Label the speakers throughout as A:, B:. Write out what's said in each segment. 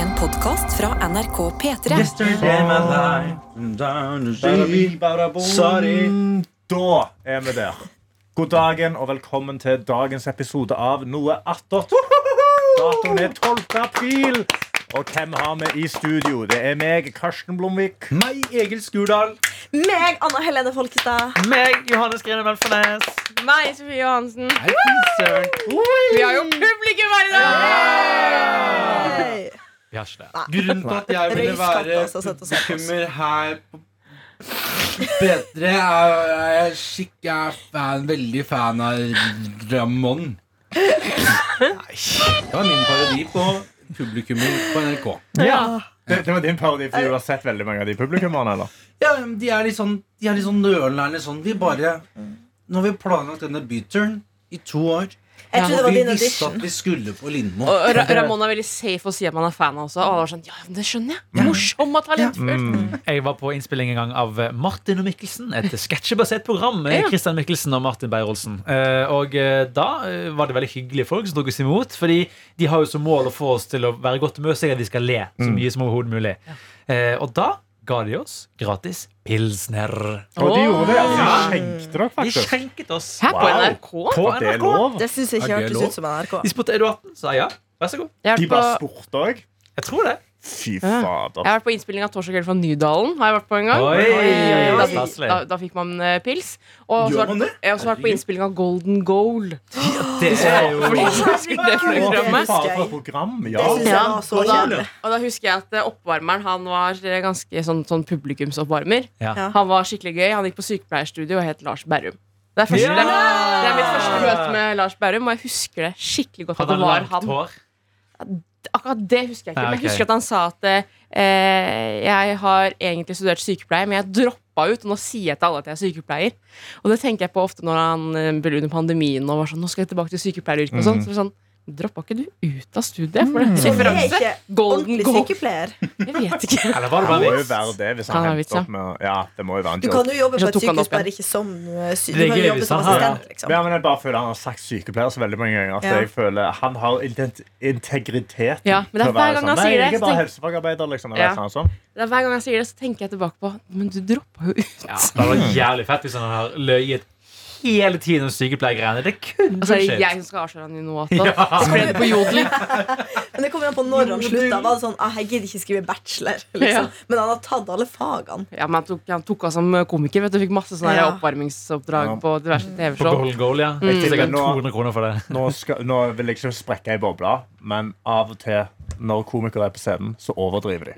A: En podkast fra NRK P3.
B: Yesterday my life I'm Mm, down to see. Sorry.
C: Da er vi der. God dagen og velkommen til dagens episode av Noe attåt. Datoen er 12. april. Og hvem har vi i studio? Det er meg, Karsten Blomvik.
B: Meg, Egil Skurdal.
D: Meg, Anna Helene Folkestad.
E: Meg, Johannes Grine Melfarnes.
D: Meg, Sofie Johansen.
B: Hei, søren.
D: Vi har jo publikum her i dag!
E: Vi har ikke det.
F: Grunnen til at jeg ville
D: Røyskatt,
F: være
D: altså, sett oss opp.
F: publikummer her på Bedre er er jeg skikk Jeg er fan, veldig fan av Ramon Nei Det var min parodi på publikummer på NRK
C: Ja. Det, det var din parodi, for du har sett veldig mange av de publikummerne? eller?
F: Ja, men de er litt sånn De er litt sånn nølende sånn Vi bare Nå har vi planlagt denne byturen I to år
D: Jeg trodde det var
F: Vi
D: din
F: visste at
D: audition.
F: vi skulle på Lindmo
G: Og Ra Ramón er veldig safe å si at man er fan også. Og alle var sånn, ja, men det skjønner jeg Morsom og talentfull.
E: Jeg var på innspilling en gang av eh, Martin og Mikkelsen. Et sketsjebasert program med
G: Ja.
E: Christian Mikkelsen og Martin Beyer-Olsen. Eh, Og eh, da eh, var det veldig hyggelige folk som tok oss imot. Fordi de har jo som mål å få oss til å være i godt humør, så at vi skal le
C: Mm.
E: så mye som overhodet mulig. Eh, Og da ga de oss gratis pilsner.
C: Og de gjorde det. Altså,
E: Ja.
C: de skjenkte dere,
E: De
C: faktisk.
E: skjenket oss
G: Her på
C: Wow.
G: NRK?
E: på
C: At det er
E: NRK.
C: lov.
D: Det syns jeg ikke
F: Er det
D: hørtes
F: lov?
D: ut som NRK.
E: De spurte er du 18, sa jeg ja. Vær så god.
G: Jeg har
C: De
G: vært
C: bare
G: på,
C: spurte òg.
E: Jeg tror det.
C: Fy
G: Ja. jeg
C: fader.
G: har vært på innspilling av Torsdag kveld fra Nydalen. Har jeg vært på en gang
E: Oi,
G: Eh,
D: oi, oi.
G: da, da, da fikk man eh, pils. Og så
F: Gjør
G: har
F: man
G: jeg
F: det?
G: har også vært på innspilling av Golden Goal.
E: Det er jo
G: Fordi jeg husker det
C: Å, fy
G: programmet.
C: fader, for et program. Ja.
D: Det synes jeg var så
G: og, da,
D: kjedelig.
G: og da husker jeg at eh, oppvarmeren Han var eh, ganske sånn, sånn publikumsoppvarmer.
E: Ja.
D: Ja.
G: Han var skikkelig gøy. Han gikk på sykepleierstudio og het Lars Berrum. Det er, første,
E: Ja!
G: det, er, det er mitt første møte med Lars Berrum, og jeg husker det skikkelig godt. at det
E: Hadde han
G: var
E: langt
G: han
E: hår?
G: Akkurat det husker jeg ikke.
E: Nei,
G: Men
E: ok.
G: jeg husker at han sa at eh, jeg har egentlig studert sykepleier, men jeg droppa ut, og nå sier jeg til alle at jeg er sykepleier. Og det tenker jeg på ofte når han eh, ble under pandemien og var sånn Nå skal jeg tilbake til sykepleieryrket og sånn. Så var det sånn Droppa ikke du ut av studiet? For det
D: Så jeg er
G: referanse.
D: ikke
G: Golden
D: ordentlig
G: goal.
D: sykepleier.
G: Jeg vet ikke.
E: Eller var
C: Det må
E: det bare
C: jo
E: vits?
C: være det hvis
G: Kan
C: han
G: være vits,
C: henter
G: ja.
C: opp med Ja, det må jo være en
D: Du
C: jobb.
D: kan jo jobbe på
G: Så
D: et
G: tok han det
D: sykehus,
G: opp igjen.
D: bare ikke som uh, sy
E: Det er
D: Du kan
E: gøy
D: jobbe
E: hvis
C: sånn?
D: som
E: han har-
D: assistent, liksom.
C: Ja, men jeg bare føler Han har sagt sykepleier så veldig mange ganger at
D: Ja.
C: jeg føler han har ident- integritet.
G: Ja, men det
C: til å være
G: er hver gang han
C: sånn,
G: sier
C: Nei, jeg
G: det, så
C: er bare
G: tenker-
C: helsefagarbeider, liksom.
G: Ja.
C: Eller noe sånt.
G: Det er Hver gang jeg sier det, så tenker jeg tilbake på Men du droppa jo ut. Altså,
E: Ja, det var
C: Mm.
E: jævlig fett hvis han har løyet hele tiden om sykepleiergreiene. Det kunne
G: Altså,
E: skjedd.
G: jeg som skal avsløre han i noe.
E: Ja.
G: Ja. Spre det på jodel.
D: Men det kommer an på når han slutta. Var det sånn, ah, jeg gidder ikke skrive bachelor liksom. Men han har tatt alle fagene.
G: Ja, men han tok, han tok av som komiker. Vet du, fikk masse sånne
D: Ja.
G: oppvarmingsoppdrag
C: Ja.
G: på diverse
E: På
G: TV-show.
E: Golden Goal,
G: Mm.
E: ja.
C: Jeg tipper
E: Sikkert
C: nå-
E: 200 kroner for det.
C: nå, skal, nå vil jeg ikke sprekke ei boble, men av og til når komikere er på scenen, så overdriver de.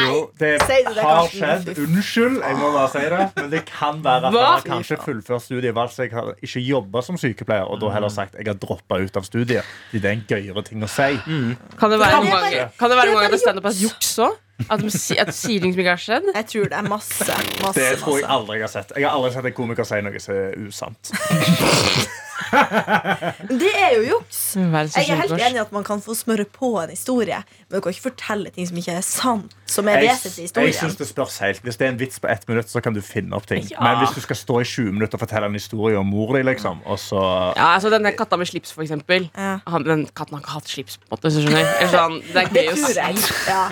C: Jo, det
D: Si det, det
C: har
D: Karsten.
C: skjedd. Unnskyld, jeg må bare si det. Men det kan være at
G: Hva?
C: han har kanskje fullført studiet valgt seg har ikke jobba som sykepleier, og da
G: Mm.
C: heller sagt jeg har droppa ut av studiet. Fordi det er en gøyere ting å si.
G: Kan det være
D: Kan det
G: noen
D: være-
G: ganger Kan det være
D: det er
G: noen ganger
D: bare
G: at standup er juks òg? At de si- at sier ting som ikke har skjedd?
D: Jeg tror det er masse. masse,
C: Det tror jeg
D: masse.
C: aldri jeg har sett. Jeg har aldri sett en komiker si noe som er usant.
D: Men Det er jo juks.
G: Verdens
D: Jeg
G: største
D: er helt
G: juks.
D: enig i at man kan få smøre på en historie, men du kan ikke fortelle ting som ikke er sant. Som er
C: Jeg,
D: vesentlig i
C: jeg
D: historien.
C: synes det spørs helt Hvis det er en vits på ett minutt, så kan du finne opp ting.
G: Ja.
C: Men hvis du skal stå i 20 minutter og fortelle en historie om mor di, liksom, og så
G: Ja, altså Denne katta med slips, for eksempel.
D: Ja.
G: Han, den katten har ikke hatt slips. på en måte, hvis du skjønner Eller sånn, Det er
D: Det
G: gøy å
D: tror jeg.
G: si.
D: Ja.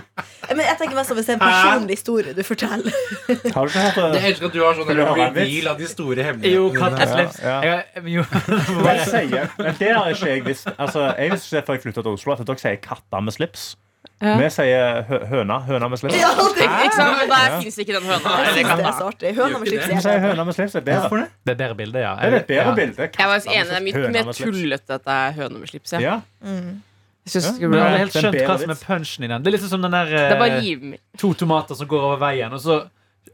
D: Men jeg tenker mest om hvis det er en personlig historie du forteller.
C: Har du ikke hørt det?
F: Jeg elsker at du har sånn
C: Vil du ha en vits?
F: reveal av de store
E: Jo,
F: hemmelighetene. dine.
E: katt med slips.
C: Ja,
E: Jeg- men jo.
C: Hva jeg eh, sier, men det har ikke jeg visst. Altså, jeg visste ikke det før jeg flyttet til Oslo, at dere sier katter med slips.
G: Ja.
C: Vi sier hø høna. Høna med slips.
D: Ja, det
G: Ikke sant? Og Der
C: Ja.
G: fins ikke den høna.
D: Jeg
G: Eller
D: synes det
G: katta.
D: er så artig. Høna med
F: Gjør
D: slips
C: Vi
D: er
C: sier
D: det.
C: høna med slips. Det er bedre.
F: Hvorfor det?
E: Det er bedre bilde, ja.
C: Det er et bedre
E: ja.
C: bilde.
G: Jeg var enig, Det
C: Katter
G: er
C: med
G: mye
C: slips. Høna
G: mer
C: med slips.
G: tullete, dette høne med slips. Ja.
C: Ja.
G: Jeg synes det,
C: Ja,
G: skulle
E: Men
C: Det
G: bli bra.
E: jeg har helt
C: er en
E: skjønt hva
C: bedre
E: som er
C: vits.
E: punchen i den. Det er liksom som den der
G: det er bare
E: eh,
G: rimer.
E: to tomater som går over veien, og så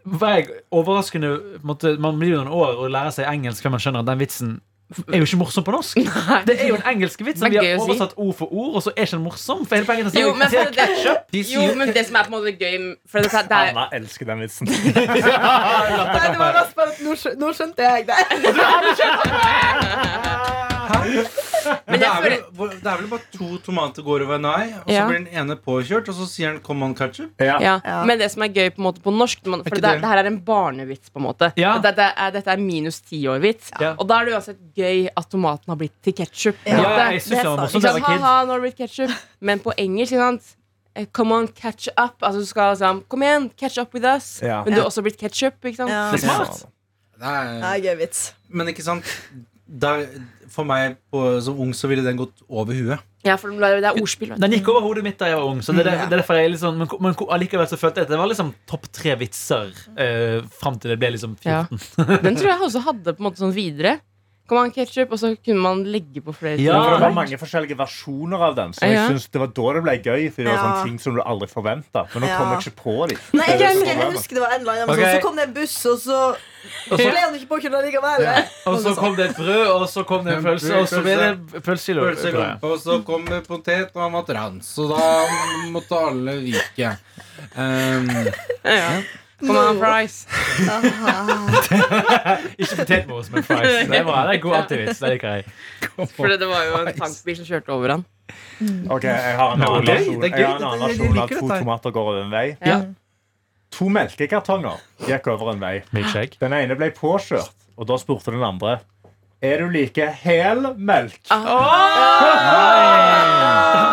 E: var jeg overraskende på en måte, Man blir jo noen år og lærer seg engelsk før man skjønner at den vitsen er jo ikke morsom på norsk. Det er jo en engelsk vits som
G: Det
E: vi
G: er
E: har
G: gøy å si.
E: oversatt ord for ord, og så er ikke den morsom. For hele poenget er at
G: Jo, men
E: det er
G: for det-
E: ketchup. De
G: Jo,
E: sier-
G: men det som er på en måte gøy for det, det er,
C: Anna elsker den vitsen.
D: Nå skjønte jeg det.
F: Men det,
G: jeg
F: er vel, hvor- det er vel bare to tomater går over en ei, og så
G: Ja.
F: blir den ene påkjørt, og så sier han 'come on, ketchup'.
C: Ja.
G: ja.
D: Ja.
G: Men det som er gøy på, en måte, på norsk man, For
F: ikke
G: det, er-
F: det-
G: det her er en barnevits, på en måte.
E: Ja.
G: Og Dette, er, dette er minus tiår-vits.
E: Ja.
G: Og da er det uansett gøy at tomaten har blitt til ketsjup.
D: Ja.
E: Ja, jeg syns
D: Det er
E: det var
D: sant.
E: morsomt
G: Ikke
E: da jeg
G: sant,
E: var kid.
G: ha-ha, nå har det blitt ketchup Men på engelsk, ikke sant eh, Come on, catch up. Altså du skal liksom Kom igjen, catch up with us.
C: Ja.
G: Men du har også blitt ketchup, ikke sant?
D: Ja.
G: Det er smart.
F: Det
D: Det
F: er,
D: er gøy vits.
F: men ikke sant Der, For meg på, som ung så ville den gått over huet.
G: Ja, for det er ordspill. vet du.
E: Den gikk over hodet mitt da jeg var ung. Så det, er derfor-
F: Ja.
E: det er derfor jeg er litt sånn, men, men allikevel så følte jeg at det var liksom topp tre vitser uh, fram til det ble liksom 14.
G: Ja. Den tror jeg også hadde på en måte sånn videre. Kom an, ketchup, og så kunne man legge på flere
E: Ja.
C: Ja, for det var
G: ting.
C: mange forskjellige versjoner av den, så jeg
G: Ja.
C: synes det var da det ble gøy. For det var
D: Ja.
C: sånne ting som du aldri forventa. Men nå
D: Ja.
C: kommer jeg ikke på dem.
D: Nei, jeg husker, jeg husker det var en eller annen men
E: Ok.
D: sånn, Så kom det en buss, og så Så ble han ikke påkjørt likevel.
E: Og så kom det et brød, og så kom det en pølse, og så ble det pølsekilo.
F: Pølse i rumpa, og så kom det potet, og han var trans. Så da måtte alle vike. Um,
G: Ja. Kom an, fries.
E: Ikke potetmos, men fries. Det er bra, det er god antivits. Det liker jeg.
G: For det var jo en tankbil som kjørte over han.
C: Ok, jeg har en
E: Nå,
C: annen
E: det er gøy,
C: versjon
F: det er gøy,
C: Jeg har en
F: det-
C: annen
F: jeg
C: versjon av
F: liker
C: at to
F: dette her.
C: tomater går over en vei.
G: Ja.
C: To melkekartonger gikk over en vei.
E: Milkshake.
C: Den ene ble påkjørt, og da spurte den andre Er du like hel melk?
D: Ah.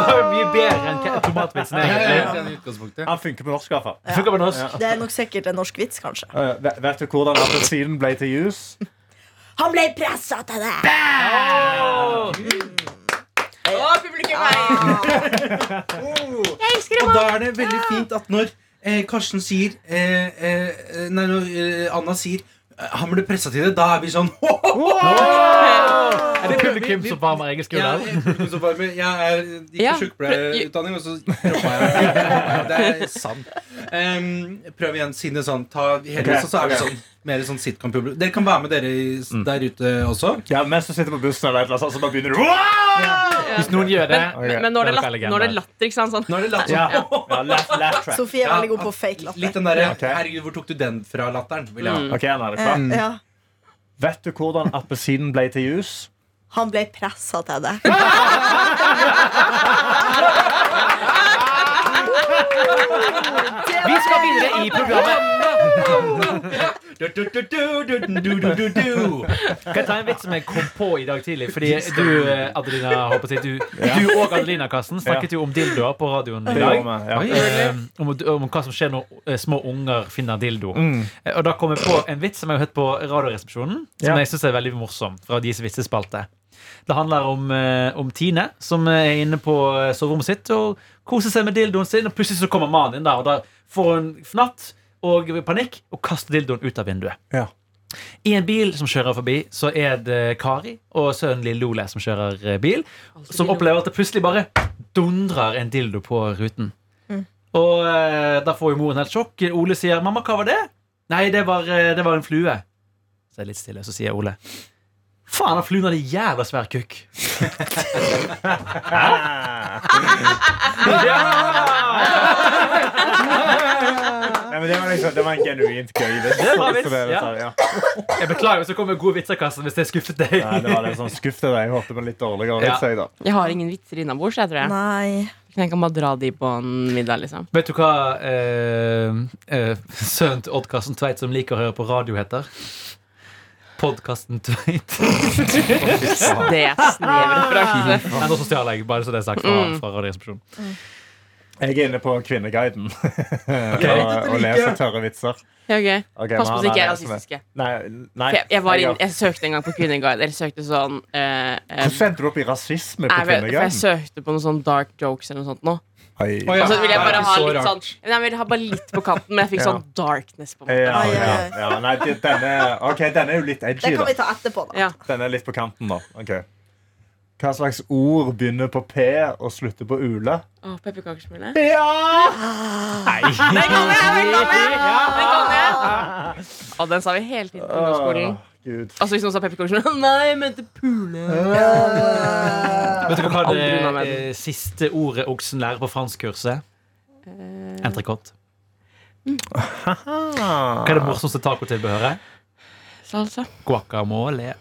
E: Det var jo mye bedre enn ke- tomatvitsen.
F: jeg er
E: egentlig.
F: helt enig i utgangspunktet.
C: Han funker på norsk, i hvert fall.
E: Funker på norsk.
D: Det er nok sikkert en norsk vits, kanskje.
C: Eh, ve- Vet du hvordan appelsinen ble til jus?
D: Han ble pressa til det!
F: Og da er det veldig fint at når eh, Karsten sier eh, eh, Nei, når eh, Anna sier eh, han ble pressa til det. Da er vi sånn
E: Er det publikum som varmer egen
F: Jeg
E: skulder?
F: er publikumsoppvarmer. Jeg er, gikk
G: Ja,
F: på sykepleierutdanning, og så droppa jeg det. Det er sant. Em, prøv igjen, si det sånn. Ta hele,
C: Ok,
F: så, så er vi
C: ok. Mm.
F: sånn mer sånn sitcom-publikum. Dere kan være med dere i- der ute også.
C: Ja, Mens du sitter på bussen, eller et eller annet, sånt, så bare begynner du Wow!
E: Hvis noen gjør det
G: Men, men nå er det
E: dere er
G: latter,
E: legender.
G: nå er det latter ikke sant? Sånn.
F: Nå er det latt
C: Ja,
F: sånn.
C: ja laugh, laugh track.
D: Ah, Sofie er
F: Ja,
D: veldig god på fake
F: Litt
D: latter.
F: den derre
C: Ok.
F: Herregud, hvor tok du den fra? latteren? Vil jeg. ha.
C: Ok, nå er det
D: Eh,
C: klart.
D: Ja.
C: Vet du hvordan appelsinen ble til jus?
D: Han ble pressa til det.
E: Vi skal videre i programmet.
F: Du, du, du, du, du, du, du, du, du.
E: Kan jeg ta en vits som jeg kom på i dag tidlig? Fordi du, eh, Adelina, håper jeg, du, du og Adelina Karsten snakket jo om dildoer på radioen i
C: Det
E: dag.
C: gjorde vi, ja.
E: Eh, om, om hva som skjer når eh, små unger finner dildo.
C: Mm.
E: Eh, Og da kom jeg på en vits som jeg har hørt på Radioresepsjonen, som
C: Ja.
E: jeg synes er veldig morsom. Fra deres vitsespalte. Det handler om, eh, om Tine, som er inne på eh, soverommet sitt og koser seg med dildoen sin. Og plutselig så kommer mannen inn der, og da får hun fnatt og panikk og kaster dildoen ut av vinduet.
C: Ja.
E: I en bil som kjører forbi, så er det Kari og sønnen lille Ole som kjører eh, bil, som opplever at det plutselig bare dundrer en dildo på ruten. Og eh, da får jo moren helt sjokk. Ole sier 'mamma, hva var det?' 'Nei, det var, eh, det var en flue'. Så er det litt stille, så sier Ole 'faen, den fluen hadde jævla svær kukk'.
C: Nei, men det, var liksom, det var en genuint gøy vits.
E: Det var vits,
C: Så det er litt
E: ja.
C: sånn, ja.
E: Jeg beklager hvis det kommer gode vitser, Karsten, hvis jeg skuffet deg.
C: Nei, det var litt sånn skuff til deg. Jeg håpet på en litt dårligere
E: Ja.
C: vits. jeg, da.
G: Jeg har ingen vitser innabords, jeg tror jeg.
D: Nei.
G: Jeg kan bare dra de på en middag, liksom.
E: Vet du hva eh, eh, sønnen til Odd Karsten Tveit, som liker å høre på radio, heter? Podkasten Tveit.
G: Det er snev referanse.
E: Nei, nå så stjal jeg, bare så det er sagt fra,
G: Mm.
E: fra Radioresepsjonen.
C: Jeg er inne på Kvinneguiden og,
F: Dette
C: og
F: liker
C: leser
F: jeg.
C: tørre vitser.
G: Ja, ok.
C: Ok,
G: Pass
C: men
G: på
C: han
G: så ikke
C: er
G: jeg er
C: som er-
G: rasistiske.
C: Nei, nei
G: For Jeg, jeg, var
C: jeg-
G: inn, jeg søkte en gang på Kvinneguide. Eller søkte sånn eh, eh,
C: Hvordan endte du opp i rasisme på
G: jeg, vet, for jeg
C: Kvinneguiden?
G: søkte på noen sånn dark jokes eller noe sånt. Nå.
C: Oi.
F: Å, ja.
G: Og så ville jeg
F: Det er
G: bare
F: ikke
G: ha
F: så
G: litt
F: rart.
G: sånn Nei, jeg ville ha bare litt på kanten, men jeg fikk
C: Ja.
G: sånn darkness på meg.
C: Ja,
D: Ai,
C: ja,
D: ai,
C: ja. Nei, det- denne, ok, denne er jo litt edgy,
D: Det
C: da.
D: kan vi ta etterpå, da.
G: Ja.
C: Den er litt på kanten, da. Ok. Hva slags ord begynner på P og slutter på ule?
G: Å, pepperkakesmule.
C: Ja!
G: Den kan jeg! Den kan jeg! Den kan jeg! Og den sa vi hele tiden på
B: Ah,
G: ungdomsskolen.
C: Gud.
G: Altså hvis noen sa pepperkakesmule Nei, jeg mente pule.
E: Vet du hva det
G: Aldri unna med den.
E: eh, siste ordet oksen lærer på franskkurset?
G: Eh.
E: Entrecôte. Hva er det morsomste tacotilbehøret?
G: altså. Salsa.
E: Guacamole.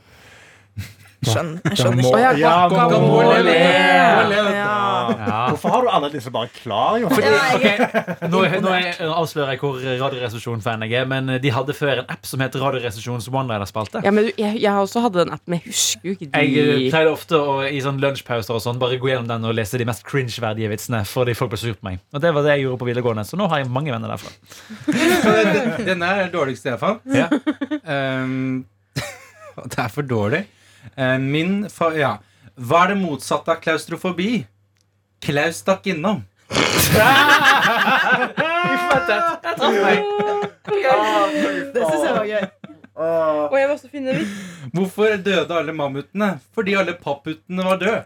D: Skjønn. Jeg skjønner ikke.
G: ja,
D: Ja.
C: Hvorfor har du alle disse bare klar? Jonas?
D: Ja, jeg-
E: Nå, er- nå er, avslører jeg hvor Radioresepsjon-fan jeg er, men eh, de hadde før en app som het Radioresepsjonens one-liner-spalte.
G: Ja, men du, jeg, jeg har også hadde den appen, men jeg husker jo ikke de
E: Jeg eh, pleide ofte å, i sånn lunsjpauser og sånn bare gå gjennom den og lese de mest cringe-verdige vitsene. Fordi folk ble sur på meg Og det var det jeg gjorde på videregående, så nå har jeg mange venner derfra.
F: Denne er dårligst, Stefan.
E: Ja.
F: Um, det er for dårlig. Eh, min fa ja. Hva er det motsatte av klaustrofobi? Klaus stakk innom.
D: Det syns jeg var gøy.
G: Og jeg må også finne den.
F: Hvorfor døde alle mammutene? Fordi alle papputene var døde.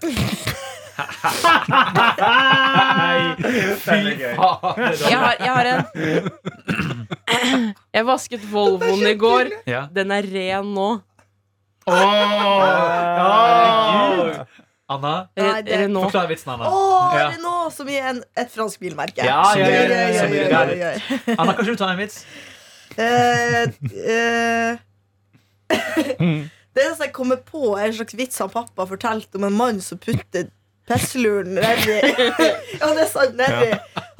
G: Jeg har, jeg har en Jeg vasket Volvoen i går.
E: Ja.
G: Den er ren nå.
D: Ah!
C: Herregud.
E: Anna,
G: Re,
D: Nei, det-
G: Renault.
E: forklar vitsen, Anna.
D: Å,
E: Ja.
D: Renault, som i en, et fransk bilmerke.
E: Ja, ja, ja,
D: Gøy,
E: ja,
D: gøy,
E: som i
D: gøy,
E: Renault.
D: gøy, gøy.
E: Anna, kan ikke du ta en vits?
D: Eh, eh, Det eneste jeg kommer på, er en slags vits han pappa fortalte om en mann som puttet pestluren nedi Ja, det er sant, nedi.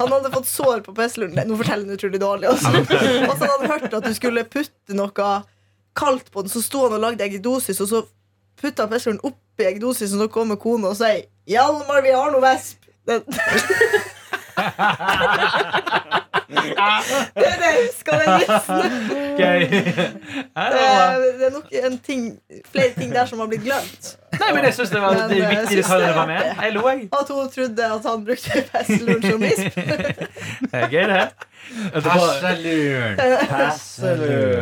D: Han hadde fått sår på pestluren. Nå forteller han utrolig dårlig. Også. Og så hadde han hørt at du skulle putte noe kaldt på den, så sto han og lagde eggedosis, og så putta han pestluren oppi eggedosisen, og så kommer kona og sier 'Hjalmar, vi har noe vesp'. Det, det er det jeg husker av den vitsen.
E: Gøy. Ja, det
D: Det
E: var bra.
D: er, det er nok en ting, flere ting der som har blitt glemt.
E: Nei, men jeg syns det var
D: Men,
E: det
D: eh, jeg
E: viktige
D: synes det
E: detaljer
D: er
E: var med. Jeg lo, jeg.
D: At hun trodde at han brukte pestelun som visp.
E: Det er Gøy, det. Etterpå,
F: Hasjalur.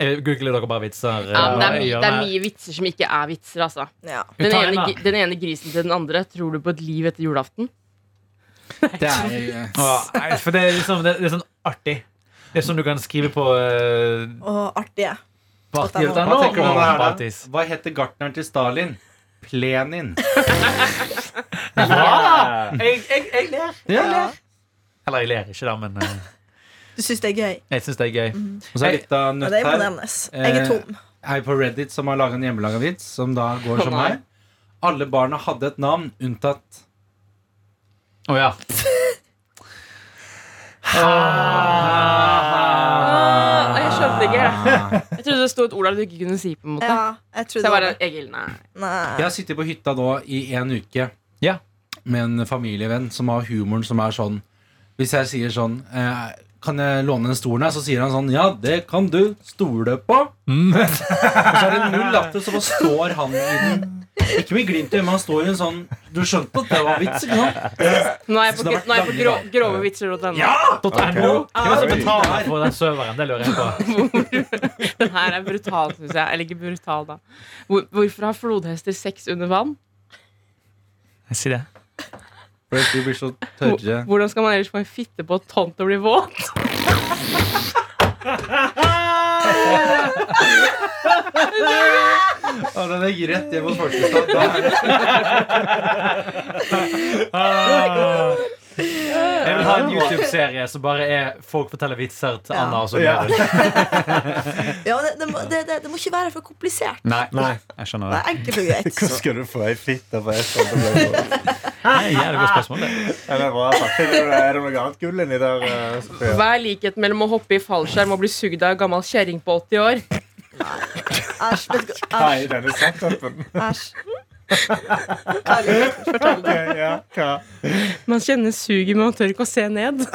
E: eh, Googler dere bare vitser?
G: Ja, men det,
E: eh,
G: er,
E: gjør
G: my- det er
E: meg-
G: mye vitser som ikke er vitser, altså.
D: Ja.
G: Den
E: tar en,
G: ene,
E: da.
G: gi- den ene grisen til den andre. Tror du på et liv etter julaften?
F: Det er
E: Å, nei, for det er liksom det, det er sånn artig. Det er som du kan skrive på uh,
D: Og artige.
F: Hva tenker du om det her, da?
E: Partis.
F: Hva heter gartneren til Stalin? Plenin.
E: Jeg, jeg, jeg ler.
F: Ja.
E: Eller jeg ler ikke, da, men eh,
D: Du syns det er gøy?
E: jeg syns det er gøy.
F: Og så er litt av
D: Ja,
F: nøtt
D: det må
F: her.
D: nevnes. Jeg er tom.
F: Jeg er på Reddit som har laga en hjemmelaga vits som da går som
G: Nei.
F: her. Alle barna hadde et navn unntatt
E: Å ja.
G: Ah, jeg skjønte ikke.
E: Ah.
G: Jeg trodde det sto et ord der du ikke kunne si. på en måte
D: Ja, jeg
G: Så
D: trodde
G: jeg bare
D: det.
G: Egil, nei.
F: Jeg
D: Nei.
F: har sittet på hytta nå i en uke
E: Ja.
F: med en familievenn som har humoren som er sånn Hvis jeg sier sånn eh, Kan jeg låne den stolen her? Så sier han sånn Ja, det kan du stole på. Mm. Og så er det null latter, så bare står han i den. Ikke med glimt i øyet, men han står i en sånn Du skjønte at det var vits, ikke sant?
G: Nå er jeg på,
F: Så det har vært
G: nå er jeg på grå,
F: lange
G: grovevitser.no.
E: .no. Hvem er det som
F: Oi.
E: betaler for den serveren? Det lurer jeg på.
G: Den her er brutal, syns jeg. Eller ikke brutal, da. Hvor, hvorfor har flodhester sex under vann?
E: Si det.
F: For de blir så tørre.
G: Hvor- Hvordan skal man ellers få en fitte på et tonn til å bli våt?
F: Ja, den gikk rett hjem hos Folkestad. Da er det-
E: Jeg vil ha en YouTube-serie som bare er folk forteller vitser til
D: Ja.
E: Anna. Og så
C: Ja.
E: gjør det.
D: Ja, det, det, må, det, det, det må ikke være for komplisert.
E: Nei, jeg skjønner
D: Det
E: det.
D: er enkelt og greit.
B: Hvordan skal du få ei fitte på et sånt? problem?
E: det er et jævlig godt spørsmål, det.
B: Ja, det Er bra sagt. Er det er det noe annet gull inni der? eh, Sofie?
G: Hva er likheten mellom å hoppe i fallskjerm og bli sugd av ei gammel kjerring på 80 år?
D: Æsj. vet du hva-
B: Nei,
D: Æsj.
B: denne setupen.
D: Æsj. Herlig.
B: Ok, Ja, hva?
G: Man kjenner suget, men man tør ikke å se ned.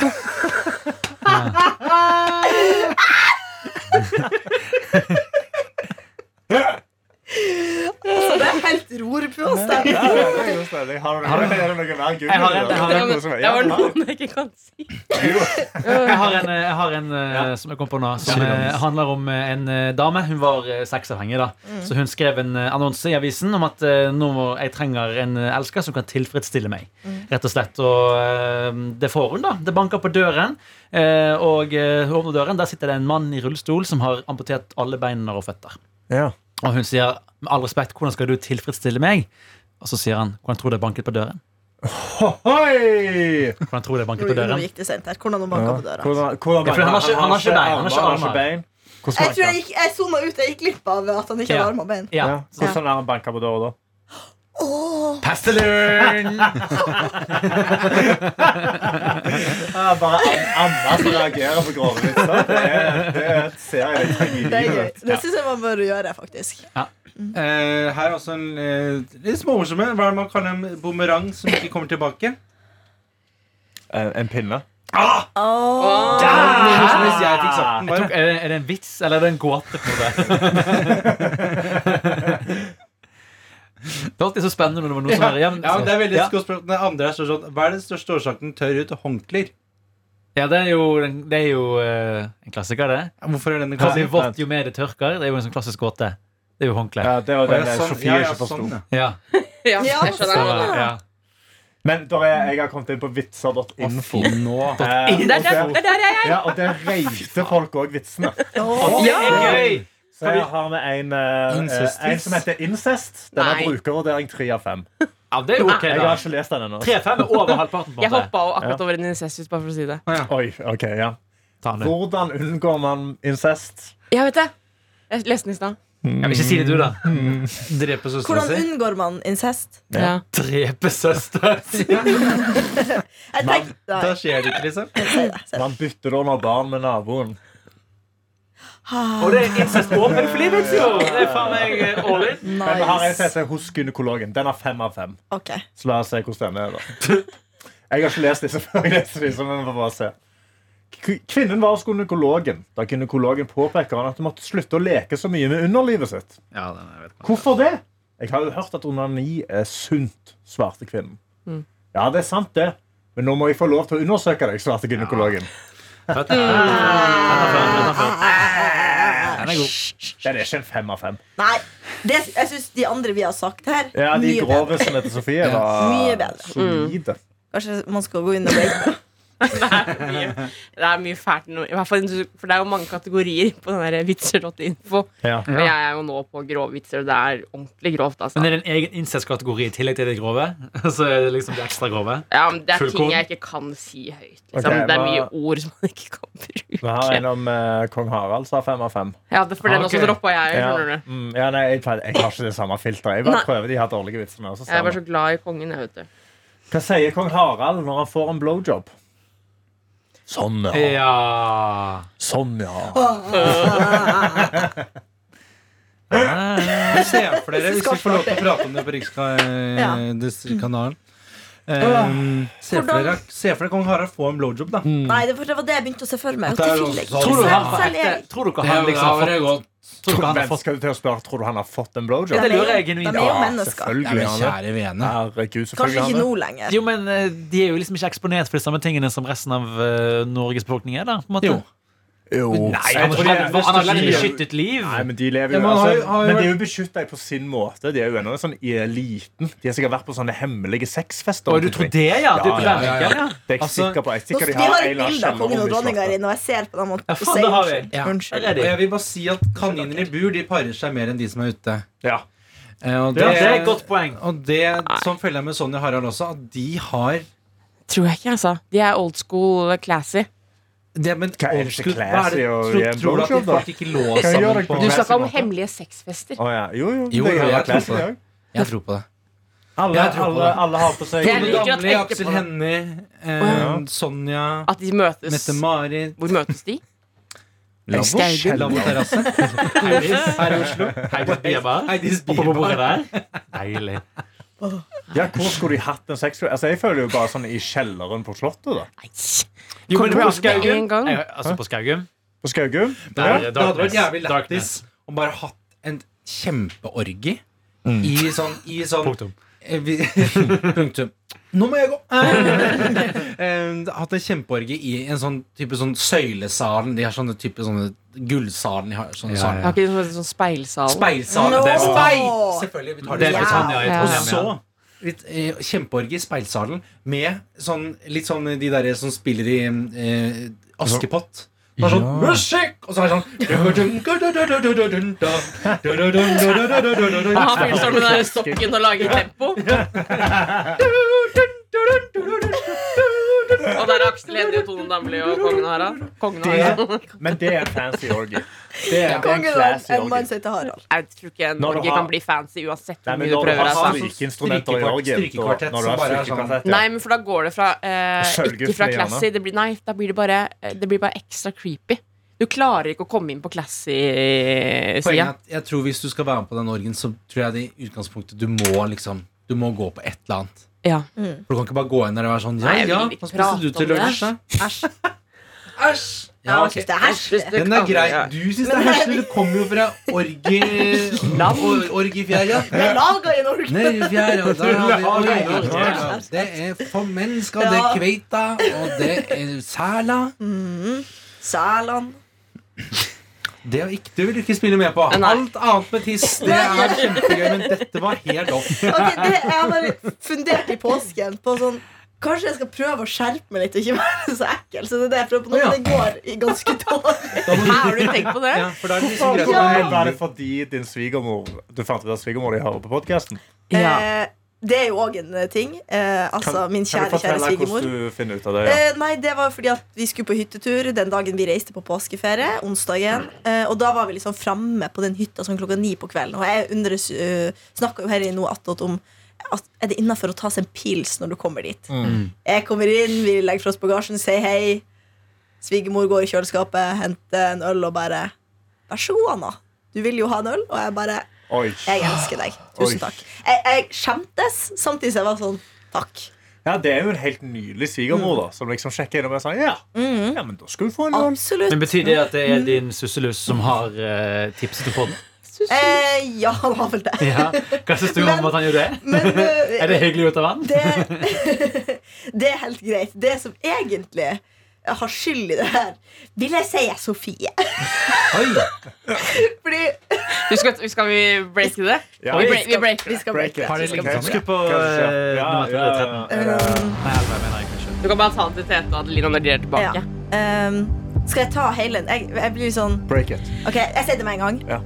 D: Altså, det er helt ror på oss. Det.
B: Ja, det er god stemning. Har du noe, er det noe mer gull?
E: Jeg har en-
B: inni der?
E: jeg har en-
G: Det var-
B: Noe som er-
G: det var
B: Ja,
G: noen jeg ikke kan si.
E: Jeg har en, jeg har en eh, som jeg kom på nå, som eh, handler om eh, en eh, dame. Hun var eh, sexavhengig. da Så hun skrev en eh, annonse i avisen om at eh, nå må jeg trenger en eh, elsker som kan tilfredsstille meg. Rett og slett. Og eh, det får hun, da. Det banker på døren, eh, og eh, hun åpner døren. Der sitter det en mann i rullestol som har amputert alle beina og føtter.
C: Ja.
E: Og hun sier med all respekt, hvordan skal du tilfredsstille meg? Og så sier han, hvordan tror du jeg banket på døren?
C: Hoi!
E: Hvordan tror du jeg banket på
D: Nå
E: døren?
D: gikk det sent her. Hvordan hun banka på døra.
C: Hvordan, hvordan,
E: Ja, for han har ikke- han har ikke bein, han har ikke armer.
C: Hvordan
D: Jeg tror
C: banka
D: jeg, gikk- jeg sona ut. Jeg gikk glipp av at han ikke
E: Ja.
D: hadde armer og bein.
E: Ja.
C: Ja, Hvordan er han banka på døra da?
D: Åh,
F: Pastelun!
C: Ja, bare Anna som reagerer på grove vitser. Det er, det er et serietragedi.
D: det er gøy. Det syns jeg man bør gjøre, faktisk.
F: Eh, her er også en eh, litt småmorsomme. Hva er det man kaller en bumerang som ikke kommer tilbake?
C: En, en pinne.
D: Åh.
F: Som hvis Ah! jeg fikk sagt den
E: Jeg tok,
F: bare.
E: er, det, er det en vits, eller er det en gåte? på Det Det var alltid så spennende når det var noe sånn her.
F: Ja,
E: men-
F: men det er veldig
E: ja.
F: godt spørsmål. Den andre er sånn sånn, Hva er den største årsaken til tørr ut og håndklær?
E: ja, det er jo, det er jo eh, en klassiker, det.
F: Hvorfor er den en
E: Kanskje
F: klassiker?
E: vått jo mer det tørker. Det er jo en sånn klassisk gåte. Det er jo håndkle.
C: Ja, det var den
F: Å, ja, sånn.
C: Sofie
F: Ja, ja,
C: ikke forsto.
F: sånn, ja.
E: Ja.
G: Ja,
D: Ja,
G: jeg
E: Så, eh,
G: skjønner.
E: ja.
C: Men der er, jeg har kommet inn på vitser.info.
F: Nå.
C: Eh,
G: Det er der,
C: og
G: det er der jeg
C: der-
G: er!
C: ja, og der reiste folk òg vitsene.
D: Åh.
E: Det er gøy!
C: Så jeg har med en, eh,
F: Incestis.
C: eh, en som heter Incest. Den har
G: Nei.
C: brukervurdering tre av fem.
E: Ja, det er jo ok,
C: Jeg
E: da.
C: har ikke lest den ennå.
E: 3-5 er over halvparten. på
G: Jeg
E: en måte.
G: hoppa akkurat over en incestus, bare for å si det.
C: Oi, ok, ja
E: Ta den, du.
C: Hvordan unngår man incest?
G: Ja, vet det. Jeg leste den i stad.
E: Ja, men ikke si det, du, da.
F: Mm. Drepe søstera
D: Hvordan
F: si.
D: unngår man incest?
C: Ja.
G: Ja.
E: Drepe søster.
D: Jeg tenkte,
F: Da
D: nei,
F: skjer det ikke, liksom.
C: Man bytter da når barn med naboen.
D: Ah,
E: Og det er incest åpen for livet, jo! Det er faen meg eh, all in.
C: Men her er
D: nice.
C: jeg hos gynekologen. Den har fem av fem.
D: Ok.
C: Så la oss se hvordan den er, da. Jeg har ikke lest disse før. jeg leser disse, men vi får bare se. K- Kvinnen var hos gynekologen da gynekologen påpeker han at hun måtte slutte å leke så mye med underlivet sitt.
F: Ja, den er, jeg vet ikke.
C: Hvorfor det? Jeg har jo hørt at onani er sunt, svarte kvinnen. Ja, det er sant, det. Men nå må jeg få lov til å undersøke deg, svarte gynekologen.
E: Den er god.
C: Den er ikke en fem av fem.
D: Nei, det, jeg syns de andre vi har sagt her,
C: Ja, de
D: mye bedre.
C: grove som heter Sofie, var
D: Mye bedre.
C: solide.
D: Kanskje man skal gå inn og rate.
G: mye, det er mye fælt nå. I hvert fall, For det er jo mange kategorier på den der vitser.info.
C: Ja.
G: Og jeg er jo nå på grove vitser, og det er ordentlig grovt, altså.
E: Men er det en egen incest-kategori i tillegg til det grove? Så er det liksom det ekstra grove?
G: Ja, men det er
E: Full
G: ting
E: korn.
G: jeg ikke kan si høyt. Liksom.
C: Ok,
G: det er mye
C: hva-
G: ord som man ikke kan bruke.
C: Vi har en om eh, kong Harald, sa fem av fem.
G: Ja, det, For den
E: Ok.
G: også droppa jeg.
C: Ja.
G: skjønner du
C: Mm, ja, nei, jeg, pleier- jeg har ikke det samme filteret. Jeg bare
G: Nei.
C: prøver de her dårlige vitsene. og så ser
G: Jeg var
C: vi.
G: så glad i kongen. jeg vet du
C: Hva sier kong Harald når han får en blowjob? Sånn,
E: Ja
C: Sånn, ja.
F: Jeg ser for dere, hvis vi får lov til å prate om det på Rikskanalen Eh, Se for dere Se for dere kong Harald få en blowjob, da.
D: Nei, det var- det var det jeg begynte å se for meg.
F: Det er jo
D: At det fikk jeg ikke.
F: sånn-
E: Tror du
D: Selv-
E: han har
D: selv jeg-
E: fått Tror dere han liksom har fått
F: godt.
E: Tror dere han har
C: Men
E: fått
C: skal du til å spørre, tror du han har fått en
E: Ja,
C: blowjob?
E: det
D: de er jo-
E: lurer jeg genuint.
D: De er jo
E: Ja,
D: mennesker.
F: Ja, men
C: Selvfølgelig har han
F: kjære
C: det.
F: vene.
C: Herregud,
D: Kanskje
C: selvfølgelig
D: ikke
C: har han det.
D: nå lenger.
E: Jo, men eh, De er jo liksom ikke eksponert for de samme tingene som resten av eh, Norges befolkning er. da på en måte
F: Jo.
C: Jo.
E: Nei,
C: Jeg
E: han
C: tror
E: har
C: de-
E: levd- han har levd et
C: de-
E: beskyttet liv.
C: Nei, men de lever jo
F: Ja, men han har jo-
C: altså,
F: har jo
C: Men de er
F: vært-
C: jo beskytta på sin måte. De er jo ennå en sånn eliten. De har sikkert vært på sånne hemmelige sexfester.
E: Og du
C: rundt
E: tror
C: omkring.
E: det, ja? Det er på
C: Ja, ja,
F: ja, ja.
E: Bergen, ja.
C: Det er jeg
F: Altså,
C: sikker på. Jeg er
D: Nå-
C: sikker
D: Vi
C: de har en
D: har et
C: eller annen
D: bilde
C: kjeller
D: av kongen
C: hvor
D: og
C: de
D: dronninga her
C: slapper.
D: inne, og jeg ser på dem og
E: Ja,
D: og
E: faen, det har vi.
D: unnskyld.
F: Ja.
E: Der
D: Unnskyld.
E: er
F: Og
E: de.
F: jeg vil bare si at kaniner i bur de parer seg mer enn de som er ute.
C: Ja.
F: Eh, Og
E: Ja, det er et godt poeng.
F: Og det som følger med Sonja Harald også, at de har
G: Tror jeg ikke, altså. De er old school eh, classy.
F: det, men,
C: Hva er det ikke
F: Old school-
C: classy
F: hva er det-
C: å
F: tro-
C: gi en
F: Tror du at de
C: blowjob, da?
F: folk ikke lå
C: jeg gjøre
F: sammen
C: det
F: på
C: på
G: Du snakka om
C: måte.
G: hemmelige sexfester.
C: Å ja. Jo,
F: Jo,
C: jo. det
F: jo,
C: kan
F: jeg
C: være
F: tror
C: classy,
F: på det.
C: det òg.
F: Jeg tror på det.
C: Alle,
F: Jeg tror på
C: alle,
F: det.
C: alle har på seg
G: Jeg liker at
F: Gamle
G: jeg ikke
F: Aksel
G: på det.
F: Hennie,
C: Wow.
F: eh, Sonja,
G: At de møtes.
F: Mette-Marit
G: Hvor møtes de?
C: Lavvo
G: Skaugen.
C: Skjelland.
F: Lavvo-terrasse her i Oslo.
E: Heidis Bieber.
F: Heidis
E: Oppe på bordet
F: Bieber.
E: der. Deilig.
C: Ja, hvor skulle de hatt en sexual Altså, Jeg føler jo bare sånn i kjelleren på Slottet, da.
G: Nei.
E: Jo, men
G: Kommer
E: på
G: du aldri
E: Skaugum
G: en gang?
E: Nei, Altså, på Skaugum
C: På Skaugum.
E: der
C: Ja.
E: er
F: Det hadde
E: Darkness.
F: vært jævlig lættis
E: Darkness.
F: om bare hatt en kjempeorgi
C: Mm.
F: i sånn, i sånn
E: Punktum.
F: Eh, vi- Punktum. Nå må jeg gå! Eh, eh, hatt en kjempeorgi i en sånn type sånn søylesalen. De har sånne type sånne gullsalen. De har sånne
E: Ja,
F: salen.
G: Har ikke de sånn, sånn speilsal?
F: Speilsalen.
D: No!
F: Det er speil! Selvfølgelig. Vi tar
E: Det
F: det.
E: er Britannia i
G: Ja.
F: Og
E: Trondheim.
F: så
E: ja.
F: litt, eh, kjempeorgi i speilsalen med sånn, litt sånn de derre som spiller i eh, Askepott. Det er sånn Musikk! Og så er sånn, det sånn
G: Han har fyren står med den der stokken og lager tempo.
F: Nei,
G: Og der er Aksel Hennie og Tone Damli og kongen og Harald. Kongen og Harald.
C: Det, men det er en fancy orgie. Det er en
D: Kongen og
C: classy
D: en mann
C: orgie.
D: som heter Harald.
G: Jeg tror ikke
C: Når du
G: Norge
C: har-
G: kan bli fancy uansett
C: Nei,
G: hvor
C: men
G: mye du
C: når du
G: prøver.
C: har
G: Altså.
C: strykeinstrumenter i orgien
B: strykekvartett
C: Når du har
B: som bare er
C: strykekvartett, ja.
G: Nei, men for da går det fra eh,
C: Sølvgutten
G: Ikke fra
C: i hjørnet.
G: classy. Det blir, nei, da blir det bare eh, Det blir bare ekstra creepy. Du klarer ikke å komme inn på eh,
F: Poenget er
G: classy-sida.
F: at jeg tror hvis du skal være med på den orgen, så tror jeg det i utgangspunktet du må liksom Du må gå på et eller annet.
G: Ja.
F: For du kan ikke bare gå inn der og være sånn Ja,
G: Nei, jeg vil
F: ja,
G: ikke
F: hva
G: prate
F: spiste du til
G: om det.
F: lunsj? da?»
D: Æsj.
F: Æsj! Ja,
D: Jeg
F: ok.
D: synes det er herskelig.
F: Den er grei. Du syns det er heslig. Du kommer jo fra orgie... Orgiefjæra.
D: Vi er laga i Norge.
F: Nervefjæra. Der har vi
D: orgie.
F: orgie. Det er for mennesker, det er
D: Ja.
F: kveita, og det er sæla.
D: Sæland.
F: Det å ikke, det vil du ikke spille med på.
G: Nei.
F: Alt annet med tiss, det er kjempegøy, men dette var helt opp.
D: Ok, det, jeg har bare fundert i påsken på sånn Kanskje jeg skal prøve å skjerpe meg litt og ikke være så ekkel. Så det er det jeg prøver på nå.
F: Å, ja.
D: men Det går i ganske dårlig.
G: Har du tenkt på det?
F: Ja, for da er det liksom greit å
C: Men
F: være
C: Er det fordi din svigermor Du fant ut at svigermor di hører på podkasten?
G: Ja.
D: Eh, det er jo òg en eh, ting. Eh, altså, min
C: Kan du
D: kjære, kjære
C: fortelle
D: svigermor.
C: hvordan du finner ut av det? Ja?
D: Eh, nei, det var fordi at vi skulle på hyttetur den dagen vi reiste på påskeferie. Onsdagen. Eh, og da var vi liksom framme på den hytta sånn klokka ni på kvelden. Og jeg undres, eh, snakka jo her i noe attåt om at er det innafor å ta seg en pils når du kommer dit.
C: Mm.
D: Jeg kommer inn, vi legger fra oss bagasjen, sier hei. Svigermor går i kjøleskapet, henter en øl og bare Vær så god, Anna. Du vil jo ha en øl. Og jeg bare
C: Oi.
D: Eh, Jeg elsker deg.
C: Oi.
D: Tusen takk. Jeg, jeg skjemtes, samtidig som jeg var sånn Takk.
C: Ja, det er jo en helt nydelig svigermor da
D: Mm.
C: som liksom sjekker inn og bare sier ja. ja, men da skal du få en øl.
D: Absolutt.
E: Men Betyr det at det er din susselus som har eh, tipset til podden?
D: Eh, ja, han har vel det.
E: Ja. Hva syns du om
D: Men-
E: at han gjorde det?
D: Men eh,
E: Er det hyggelig gjort av han?
D: det, det er helt greit. Det som egentlig har skyld i det her, vil jeg si er Sofie. Fordi
G: Du skal, skal vi breake det?
C: Ja.
G: vi, break, vi breaker
D: vi
G: det.
D: skal breake.
C: Har det ligget
E: Skru på
C: Ja,
E: eh,
C: ja,
E: nummer
C: ja, ja.
D: um,
E: 13. Nei, elleve mener jeg kanskje.
G: Du kan bare ta den til Tete og Adelina når de er
D: Ja.
G: tilbake.
D: Um, skal jeg ta hele Jeg, jeg blir sånn
C: Eh, Break it.
D: Ok, jeg sier det med en gang.
C: Ja.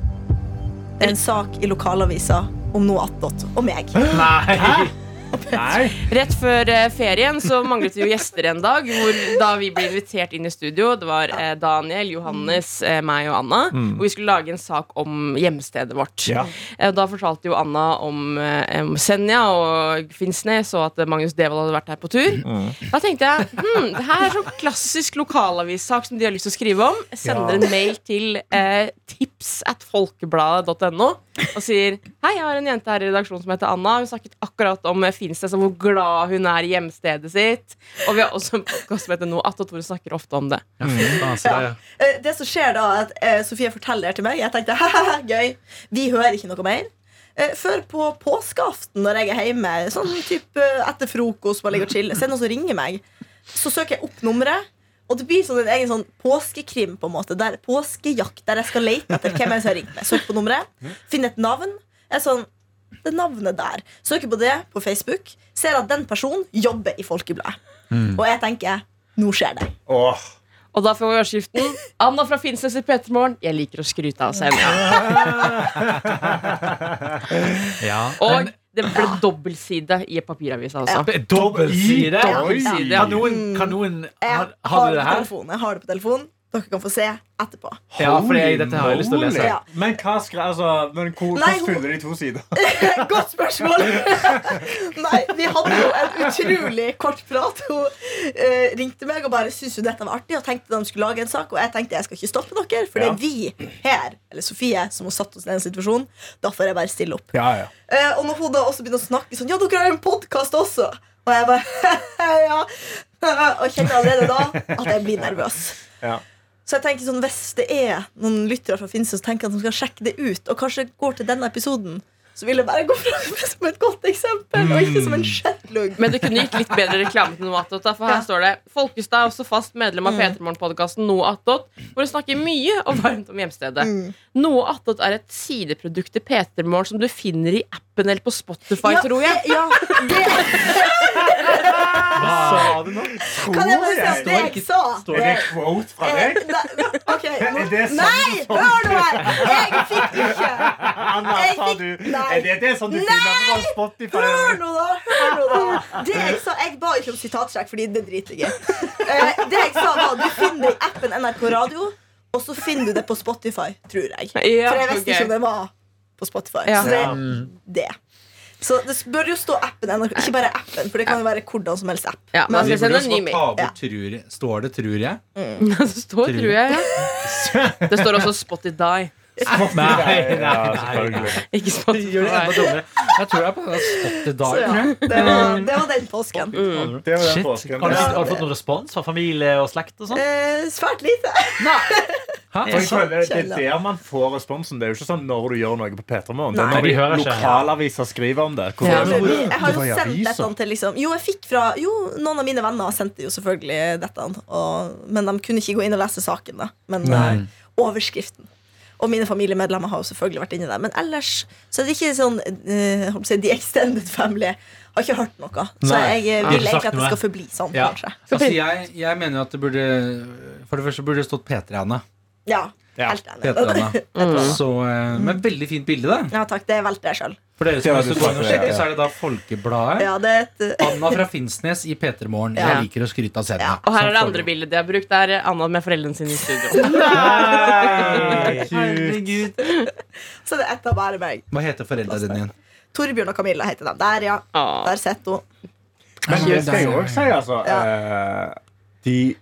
D: Det er en sak i lokalavisa om noe attåt. Og meg.
E: Nei! Nei.
G: Rett før eh, ferien så manglet vi jo gjester en dag. Hvor da vi ble invitert inn i studio, det var eh, Daniel, Johannes, eh, meg og Anna. Og vi skulle lage en sak om hjemstedet vårt.
C: Ja.
G: Eh, og da fortalte jo Anna om, eh, om Senja og Finnsnes, og at eh, Magnus Devold hadde vært her på tur. Da tenkte jeg hm, det her er sånn klassisk lokalavissak som de har lyst til å skrive om. Jeg sender en mail til eh, tips at folkebladet.no og sier Hei, jeg har en jente her i redaksjonen som heter Anna. Hun snakket akkurat om eh, Finnsnes og hvor glad hun er i hjemstedet sitt. Og vi har også en podkast som heter Noe attåt, hvor hun snakker ofte om det.
E: Ja, fy Mm, faen, så det er-
D: Eh, Det som skjer da, er at eh, Sofie forteller det til meg. Jeg tenkte, haha, gøy, vi hører ikke noe mer. Eh, Før på påskeaften når jeg er hjemme, sånn typ eh, etter frokost, bare ligger og chiller, så er det noen som ringer meg. Så søker jeg opp nummeret, og det blir sånn en egen sånn påskekrim, på en måte, der, påskejakt, der jeg skal lete etter hvem er det som har ringt meg. Søker på nummeret, finner et navn. Jeg er sånn, det navnet der. Søker på det på Facebook, ser at den personen jobber i Folkebladet. Og jeg tenker, nå skjer det.
C: Åh.
G: Og da får vi overskriften Anna fra Finnsnes i P3morgen. Jeg liker å skryte av Senja.
E: Ja.
G: Og det ble dobbeltside i papiravisa også.
E: Dobbeltside!
G: Dobbeltside, ja.
E: Kan noen, kan noen
D: Jeg
E: har,
D: har
E: har du
D: det på
E: det her?
D: telefonen. Jeg har det på telefonen. Dere kan få se etterpå.
E: Ja, for jeg, dette har jeg lyst til å lese.
D: Ja.
C: Men hva skre, altså, men hvor,
D: Nei,
C: hvordan
D: hun-
C: fyller de to sider?
D: Godt spørsmål! Nei, vi hadde jo en utrolig kort prat. Hun eh, ringte meg og bare syntes jo dette var artig og tenkte de skulle lage en sak. Og jeg tenkte jeg skal ikke stoppe dere, for det
C: Ja.
D: er vi her, eller Sofie, som har satt oss i den situasjonen. Da får jeg bare stille opp.
C: Ja, ja.
D: Eh, og når hun da også begynner å snakke sånn Ja, dere har jo en podkast også! Og jeg bare Ja. og kjenner allerede da at jeg blir nervøs.
C: Ja.
D: Så jeg tenker sånn, hvis det er noen lyttere fra Finnsnes som tenker at de skal sjekke det ut, og kanskje går til denne episoden, så vil jeg bare gå fram som et godt eksempel, og ikke
C: Mm.
D: som en skjettlugg.
G: Men det kunne gitt litt bedre reklame til Noe attåt. da, For her
D: Ja.
G: står det Folkestad er også fast medlem av P3morgen-podkasten Noe attåt, hvor hun snakker mye
D: Mm.
G: og varmt om hjemstedet. Noe attåt er et sideprodukt til P3morgen som du finner i appen appen eller på Spotify,
D: Ja,
G: tror jeg.
D: det- Ja, det
E: Hva sa du nå?
D: Ah. kan jeg bare si at det
E: ikke-
D: jeg sa.
E: står
C: Er det quote fra deg?
D: Eh, nei, ok,
C: Er det
D: nå-
C: sant
D: Nei,
C: som-
D: hør nå her! Jeg fikk ikke
C: Anna,
D: eh, Jeg
C: sa
D: fikk-
C: du
D: Nei.
C: Er det det som du
D: Nei!
C: finner på Spotify?
D: Hør nå, da! hør nå da Det Jeg sa, jeg ba ikke om sitatsjekk, fordi det driter jeg i. Eh, Det jeg sa, var du finner det i appen NRK Radio, og så finner du det på Spotify, tror jeg.
G: Ja,
D: For jeg visste
G: ok.
D: ikke om det var på Spotify.
G: Ja.
D: Så det er
E: Mm.
D: det. Så det bør jo stå appen NRK, ikke bare appen, for det kan jo være hvordan som helst app.
G: Ja, man
F: Vi
D: Men-
G: skal
F: burde
G: sende
F: også
G: en ny
F: bare
G: mail.
F: ta bort tror jeg. Står det 'tror jeg'?
G: Det står, tror jeg. Ja. Det står også Spotify.
E: Nei, nei,
C: Ja,
E: nei, nei.
C: selvfølgelig.
G: Ikke Spotify.
F: Gjør det enda dummere. Jeg tror jeg er på den
D: Så ja,
F: Spotify.
D: det var, det var den påsken.
C: Det var den
E: Shit.
C: påsken.
E: Har du, har du fått noen respons fra familie og slekt? og sånt?
D: Eh, svært lite.
E: Hæ?
C: For jeg føler Det er
D: Kjell, da.
C: der man får responsen. Det er jo ikke sånn når du gjør noe på P3 Morgen. Det
D: Nei,
C: er
E: de
C: når
E: hører ikke.
C: lokalaviser skriver om det. sånn? Hvor
G: Ja.
C: er det?
D: Jeg har
C: Det
D: jo
C: var i
D: sendt
C: avisa.
D: dette til liksom Jo, jeg fikk fra Jo, noen av mine venner sendte jo selvfølgelig dette, og, men de kunne ikke gå inn og lese saken, da. Men eh, overskriften. Og mine familiemedlemmer har jo selvfølgelig vært inni der. Men ellers så er det ikke sånn eh, holdt på å si, The extended family har ikke hørt noe. Så
E: Nei,
D: jeg eh,
E: de har
D: vil
E: ikke sagt
D: egentlig at det
E: noe.
D: skal forbli sånn,
E: Ja.
D: kanskje.
F: Altså, jeg, jeg mener jo at det burde For det første burde det stått P3 Anne.
D: Ja.
C: Ja.
D: Helt
F: P3
D: enig.
F: Anne. Så, eh, men veldig fint bilde, da.
D: Ja takk, det valgte jeg sjøl.
F: For dere som
C: Ja,
F: har lyst
C: du
F: til å gå inn og
C: sa det,
F: sjekke,
C: ja.
F: så er det da Folkebladet.
D: Ja, det er et eh,
F: Anna fra Finnsnes i P3 Morgen.
G: Ja.
F: Jeg liker å skryte av scenen.
G: Og her er det andre bildet de har brukt. Det er Anna med foreldrene sine i studio.
C: Nei, cute.
D: Så det er ett av bare meg.
F: Hva heter foreldra dine igjen?
D: Torbjørn og Camilla heter de. Der, ja.
E: Ah.
G: Åh.
D: Der sitter hun.
C: Men det skal jeg òg si, altså. eh, De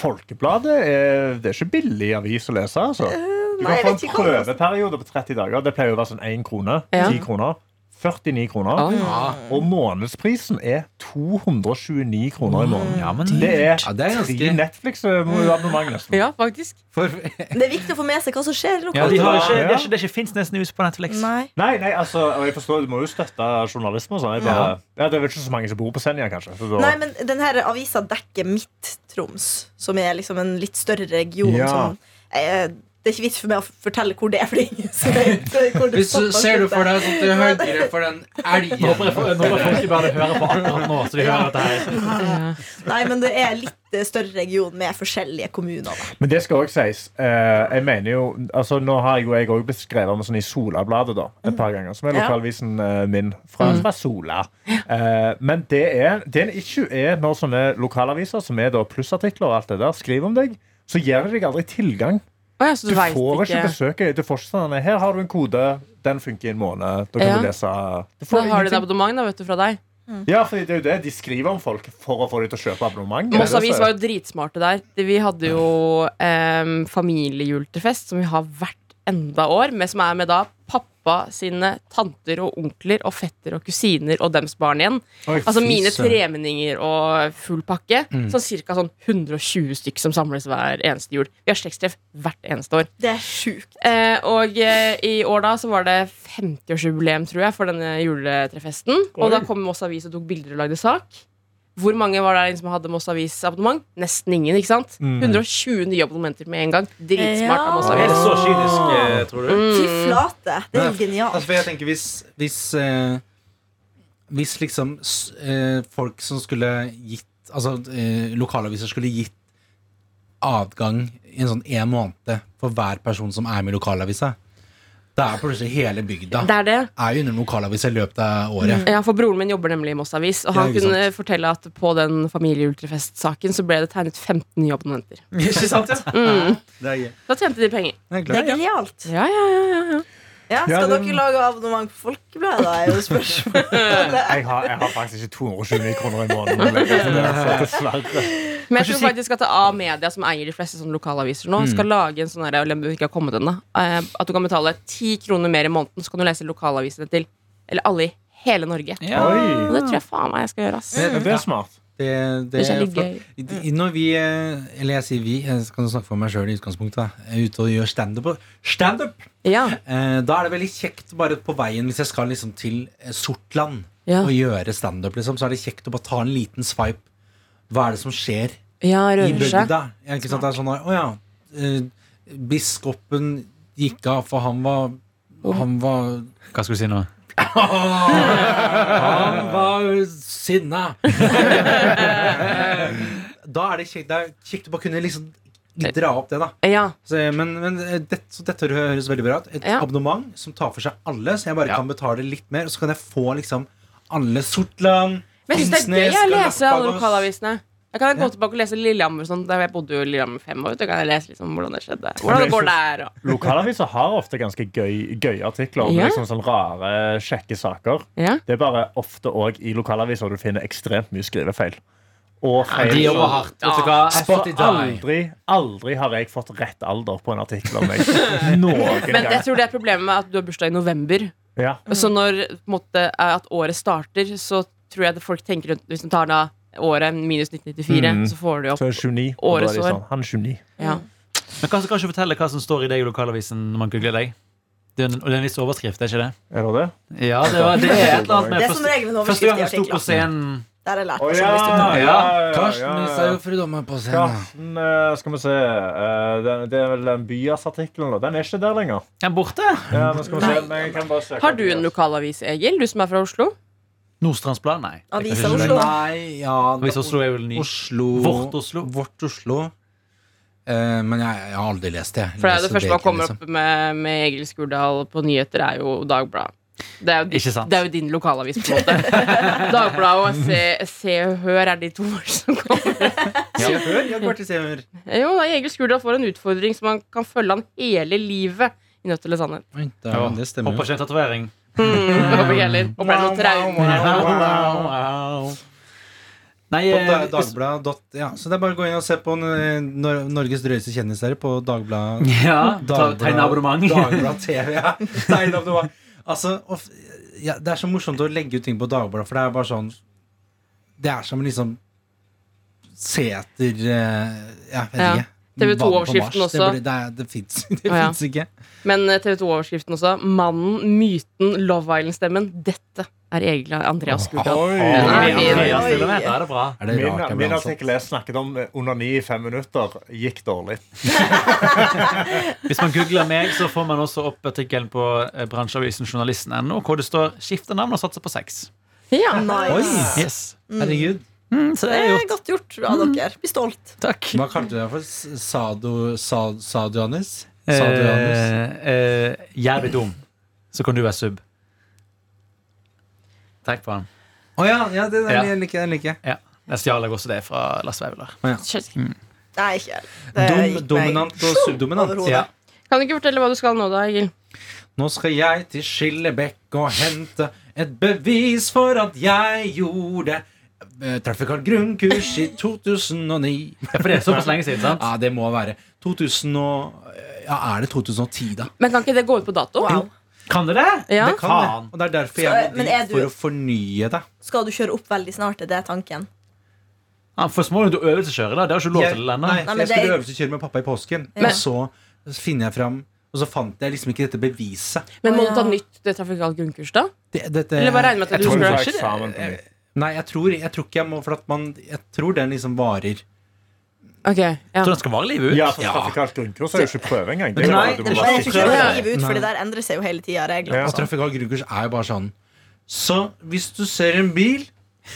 C: Folkebladet er, det er ikke billig avis å lese. altså Du
D: Nei, jeg
C: kan få en
D: vet ikke hva det koster.
C: prøveperiode på 30 dager. Det pleier å være sånn 1 krone.
G: Ja.
C: 10 kroner. 49 kroner.
G: Oi.
C: Og månedsprisen er 229 kroner i måneden.
E: Ja, men
C: Det er
F: Ja, det er ganske-
C: tre eh, Netflix-abonnement, nesten.
G: Ja, faktisk.
F: For,
D: Det er viktig å få med seg hva som skjer
E: Ja,
D: lokalt.
E: de har ikke,
C: Ja.
E: det er ikke, det er ikke Finnsnes News på Netflix.
D: Nei.
C: Nei, nei, altså, og jeg forstår, Du må jo støtte journalisme. og sånn. Jeg bare- Ja, det er vel ikke så mange som bor på Senja, kanskje. Så da-
D: Nei, men den her avisa dekker Midt-Troms, som er liksom en litt større region.
C: Ja.
D: Som, eh, det er ikke vits for meg å fortelle hvor det er, for det er ingen som vet hvor det
F: hvis du
D: stopper og
F: ser du for
D: slutter.
F: deg sånn til høyre for den
E: Nå håper
F: elgen
E: jeg nå håper jeg folk bare hører på akkurat nå. Så de hører dette her
G: Ja.
D: Nei, men det er litt eh, større region med forskjellige kommuner. Da.
C: Men det skal også sies. eh, jeg mener jo, altså Nå har jeg jo jeg også blitt skrevet om sånn i Solabladet da, et par ganger. Som er
D: Ja.
C: lokalavisen eh, min fra,
G: Mm.
C: fra Sola. Eh, men det er, det er en issue er når sånne lokalaviser, som er da plussartikler og alt det der, skriver om deg, så gir de deg aldri tilgang.
G: Å ja, så
C: Du
G: du veit
C: får ikke
G: ikke.
C: besøke. Du får ikke sånn Her har du en kode. Den funker i en måned. Da kan
G: Ja.
C: du lese du
G: Da
C: får
G: har de et
C: ingenting.
G: abonnement da, vet du, fra deg.
C: Ja, for det er jo det. De skriver om folk for å få dem til å kjøpe abonnement.
G: Moss Avis
F: altså.
G: var
C: Det er det som er-
G: jo dritsmarte der. De- Vi hadde jo em, familiejultrefest, som vi har hvert enda år, men som er med da pappa sine tanter og onkler og fetter og kusiner og dems barn igjen.
F: Oi,
G: Altså
F: fy
G: mine
F: søren. Mm.
G: tremenninger og full pakke. Sånn ca. Sånn 120 stykk som samles hver eneste jul. Vi har slektstreff hvert eneste år.
D: Det er sjukt.
G: Eh, og eh, i år da så var det 50-årsjubileum, tror jeg, for denne juletrefesten. Og da kom Moss Avis og tok bilder og lagde sak. Hvor mange var det som hadde Moss Avis-abonnement? Nesten ingen. ikke sant? 120 nye abonnementer med en gang. Dritsmart av Moss
E: Er det
G: Avis.
E: så kynisk, eh, tror du?
D: Fy flate. Det er jo
F: Nei,
D: genialt.
F: Altså, for jeg tenker hvis Hvis, eh, hvis liksom s- eh, folk som skulle gitt Altså eh, lokalaviser skulle gitt adgang i en sånn en måned for hver person som er med i lokalavisa, da er plutselig hele bygda
G: Det er det.
F: er jo under lokalavisa i løpet av året.
G: Ja, for Broren min jobber nemlig i Moss Avis, og
F: Ja,
G: han
F: ikke
G: kunne fortelle at på den familieultrefest-saken så ble det tegnet 15 nye abonnenter.
E: Ikke sant, ja?
F: Det er gøy.
G: Da tjente de penger.
D: Det er genialt.
G: Ja, ja, ja, ja, ja.
D: Ja,
C: Ja,
D: skal
C: det-
D: dere lage abonnement på Folkebladet? Det er jo spørsmålet.
C: Jeg har, jeg har faktisk ikke 229 kroner i måneden. Dessverre.
G: Men jeg tror faktisk at A-media, som eier de fleste sånne lokalaviser nå,
F: Mm.
G: skal lage en sånn her, eller ikke har kommet ennå, eh, at du kan betale ti kroner mer i måneden, så kan du lese lokalavisene til eller alle i hele Norge.
C: Oi.
G: Og det tror jeg faen meg jeg skal gjøre, ass.
F: Det-
C: Det er smart.
F: Det, det
G: Det er
F: er
G: litt
F: flott. I- i- Når vi, eh, eller jeg sier vi, jeg kan snakke for meg sjøl i utgangspunktet, da, er ute og gjør standup, stand
G: Ja,
F: eh, da er det veldig kjekt bare på veien hvis jeg skal liksom til eh, Sortland
G: Ja.
F: og gjøre standup, liksom, så er det kjekt å bare ta en liten swipe. Hva er det som skjer
G: ja
F: i
G: rører seg.
F: bygda? Ja, ikke sant? Det er sånn der, Å ja, eh, biskopen gikk av, for han var Han var
E: Hva skal du si nå? Han var sinna.
F: Da er det kjekt, det er kjekt å bare kunne liksom dra opp det, da.
G: Ja.
F: Så, men men eh, det, så dette hø- høres veldig bra ut. Et
G: Ja.
F: abonnement som tar for seg alle, så jeg bare
E: Ja.
F: kan betale litt mer. Og så kan jeg få liksom alle Sortland,
G: Men jeg synes
F: Finnsnes,
G: det er gøy å lese alle
F: Galapagos.
G: lokalavisene. Da kan jeg gå tilbake og lese Lillehammer. og Sånn, der jeg bodde jo i Lillehammer fem år. Da kan jeg lese liksom hvordan det skjedde. Hvordan det går der. Og.
C: Lokalaviser har ofte ganske gøy, gøye artikler om
G: Ja.
C: liksom sånn rare, kjekke saker.
G: Ja.
C: Det er bare ofte òg i lokalaviser du finner ekstremt mye skrivefeil. Og feil
E: De
C: som-
E: jobber hardt. Vet du hva? Jeg så
C: Så aldri, aldri har jeg fått rett alder på en artikkel om meg. Noen
G: Men jeg
C: gang.
G: tror det er problemet med at du har bursdag i november.
C: Ja.
G: Så når på en måte, at året starter, så tror jeg at folk tenker at hvis de tar da året minus 1994,
C: Mm.
G: så får du opp
C: Så er det 29. og da
G: Årets
C: er de
G: år.
C: sånn, han er 29.
G: ja.
E: Men kan, kan du ikke fortelle hva som står i deg i lokalavisen når man googler deg? Det er en, og det er en viss overskrift, er ikke det?
C: Er det det?
E: Ja, det, var, det er et eller annet med
D: Det er som
E: første,
D: regel en
E: første
D: overskrift
E: gang
D: i
E: jeg sto på
D: artikler.
E: scenen
D: Der har jeg lært
C: Å,
D: meg sånn journalistikk.
H: Karsten mista jo fridommen på scenen.
C: Karsten, eh, skal vi se eh, den, Det er vel den Byas-artikkelen. da. Den er ikke der lenger.
E: Er den borte?
C: Ja, men skal vi se, men jeg kan bare søke
G: Har du
C: opp
G: en
C: Byas.
G: lokalavis, Egil? Du som er fra Oslo?
E: Nordstrandsblad? Nei.
D: Avisa
E: Jeg kan ikke
D: Oslo.
H: Nei, ja
E: skjønne. Hvis Oslo er vel ny.
H: Oslo
E: Vårt Oslo.
H: Vårt Oslo. Eh, men jeg, jeg har aldri lest det. Jeg
G: For det, er
H: leser
G: jo det første man
H: ikke,
G: kommer
H: liksom.
G: opp med, med Egil Skurdal på nyheter, er jo Dagbladet. Det er jo,
E: Ikke sant.
G: det er jo din lokalavis, på en måte. Dagbladet og Se, Se og Hør er de to som kommer.
H: liksom.
F: Se og Hør, jeg går til Se og Hør.
G: Jo, da, Egil Skurdal får en utfordring som han kan følge han hele livet. I Nødt eller sannhet.
H: Oi, da,
E: Ja,
H: det stemmer
E: Håper
H: jo.
E: ikke en tatovering.
G: Mm, håper ikke heller. Håper det er noe traume.
E: Nei,
F: På
E: eh,
F: da- Dagbladet. dot- Ja. Så det er bare å gå inn og se på eh, Nor Norges drøyeste kjendiser på Dagbladet.
E: Ja, ta-
F: Dagbladet-
E: tegne abonnement.
F: Dagbladet TV, ja. Tegne abonnement. Altså, of, ja, det er så morsomt å legge ut ting på Dagbladet, for det er bare sånn Det er som liksom se etter eh, Jeg vet
G: Ja.
F: ikke. vann
G: TV2
F: på
G: overskriften
F: Mars. Det,
G: også.
F: blir- det, er- det fins det
G: Å, ja.
F: finnes ikke.
G: Men eh, TV 2-overskriften også. Mannen, myten, Love Island-stemmen. Dette er Egil Andreas Skurdal.
C: Oi.
E: Ja,
G: Nei,
E: det er bra.
D: oi, oi.
E: Da er det bra.
H: Er det
C: Min,
H: rart jeg ble
F: altså.
C: min
H: ansatt?
C: artikkel er 'Snakket om onani i fem minutter'. Gikk dårlig.
E: Hvis man googler meg, så får man også opp artikkelen på eh, bransjeavisen journalisten.no, hvor det står 'skifte navn og satse på sex'.
G: Ja.
D: Nice.
E: Yes. Herregud. Mm, så det
D: Det
E: er
D: er
E: gjort.
D: godt gjort av dere. Bli stolt.
E: Takk.
H: Hva kalte du deg for? S- Sado, sa, Sadionis?
E: Eh,
H: Sadionis?
E: eh, jævlig dum. Så kan du være sub. Takk for han.
F: Å ja, ja, det, den
E: Ja.
F: liker jeg. Den liker jeg.
E: Ja. Jeg stjal jeg også det fra Lars Vaular.
D: Nei, ikke helt. Det
F: Dom,
D: gikk meg
F: dominant og subdominant.
D: overhodet.
E: Ja.
G: Kan du ikke fortelle hva du skal nå, da, Egil?
F: Nå skal jeg til Skillebekk og hente et bevis for at jeg gjorde eh, Trafikalt grunnkurs i 2009.
E: Ja, for det er såpass lenge siden, sant?
F: Ja, det må være 2000 og, Ja, er det 2010, da?
G: Men kan ikke det gå ut på dato?
D: Wow.
E: Kan du det?
G: Ja.
F: Det kan det.
E: Faen.
F: Og det er derfor
D: Så,
F: jeg
D: eh,
F: må
D: men er
F: dit
D: du-
F: for å fornye deg.
D: Skal du kjøre opp veldig snart? Er det tanken?
E: Ja, først må du øvelseskjøre. da. Det har du ikke lov
F: Jeg,
E: til
F: nei,
E: ennå.
F: for
D: men
F: jeg skulle
D: det-
F: øvelseskjøre med pappa i påsken,
D: Ja.
F: og så finner jeg fram Og så fant jeg liksom ikke dette beviset.
G: Men må
D: Å, ja.
G: du ta nytt eh, trafikalt grunnkurs, da?
F: Det, dette,
G: Eller bare regne med at
F: jeg
G: du
F: tror-
C: Tror du tar
G: scratcher?
C: eksamen på
G: Eh,
C: nytt?
F: Nei, jeg tror, jeg tror ikke jeg må For at man, jeg tror den liksom varer.
G: Ok, ja.
E: Jeg tror den skal vare livet ut.
C: Ja, for trafikalt grunnkurs er jo ikke prøve engang. Det er jo
F: Nei,
C: bare du må
D: Det må
C: bare
D: jeg
C: sitte
D: ikke kjøre
G: Nei.
D: livet ut,
F: Nei.
D: for det der endrer seg jo hele tida,
C: Ja.
D: reglene.
F: Og
D: og sånn.
F: trafikal grunnkurs er jo bare sånn Så hvis du ser en bil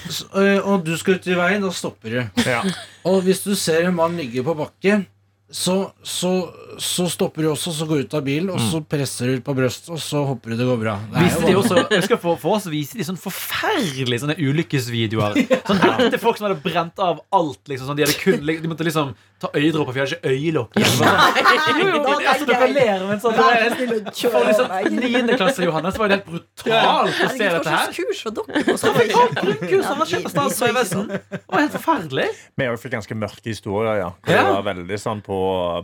F: s- ø, og du skal ut i veien, da stopper du.
C: Ja.
H: Og hvis du ser en mann ligge på bakken, så, så, så stopper du også, så går du ut av bilen, og
I: Mm.
H: så presser du på brøstet, og så håper du det går bra. Det er jo
E: Viste
H: sånn
E: de
H: vanlig.
E: også, jeg husker for, for oss viste de sånn forferdelige sånne ulykkesvideoer. Sånn ekte folk som hadde brent av alt. Liksom, sånn, de, hadde kun, de måtte liksom ta øyedråper, for de hadde ikke øyelokk igjen. Jo, jo,
D: Da
E: altså, dere
D: tenker jeg-
E: ler, men sånn, det er- for
D: Kjøre
E: liksom,
D: meg.
E: Niendeklasse Johannes var jo helt brutalt å se
D: Herregud,
E: dette
D: hva slags
E: her.
D: kurs var dere på?
E: Så fikk
D: sommeren?
E: han grunnkurs, han var kjøpt av
D: Ja, vi- vi så ikke
E: Statsvegvesen. Det var helt forferdelig.
C: Vi har jo fått ganske mørke historier, ja. Hvor Det
E: Ja.
C: var veldig sånn på,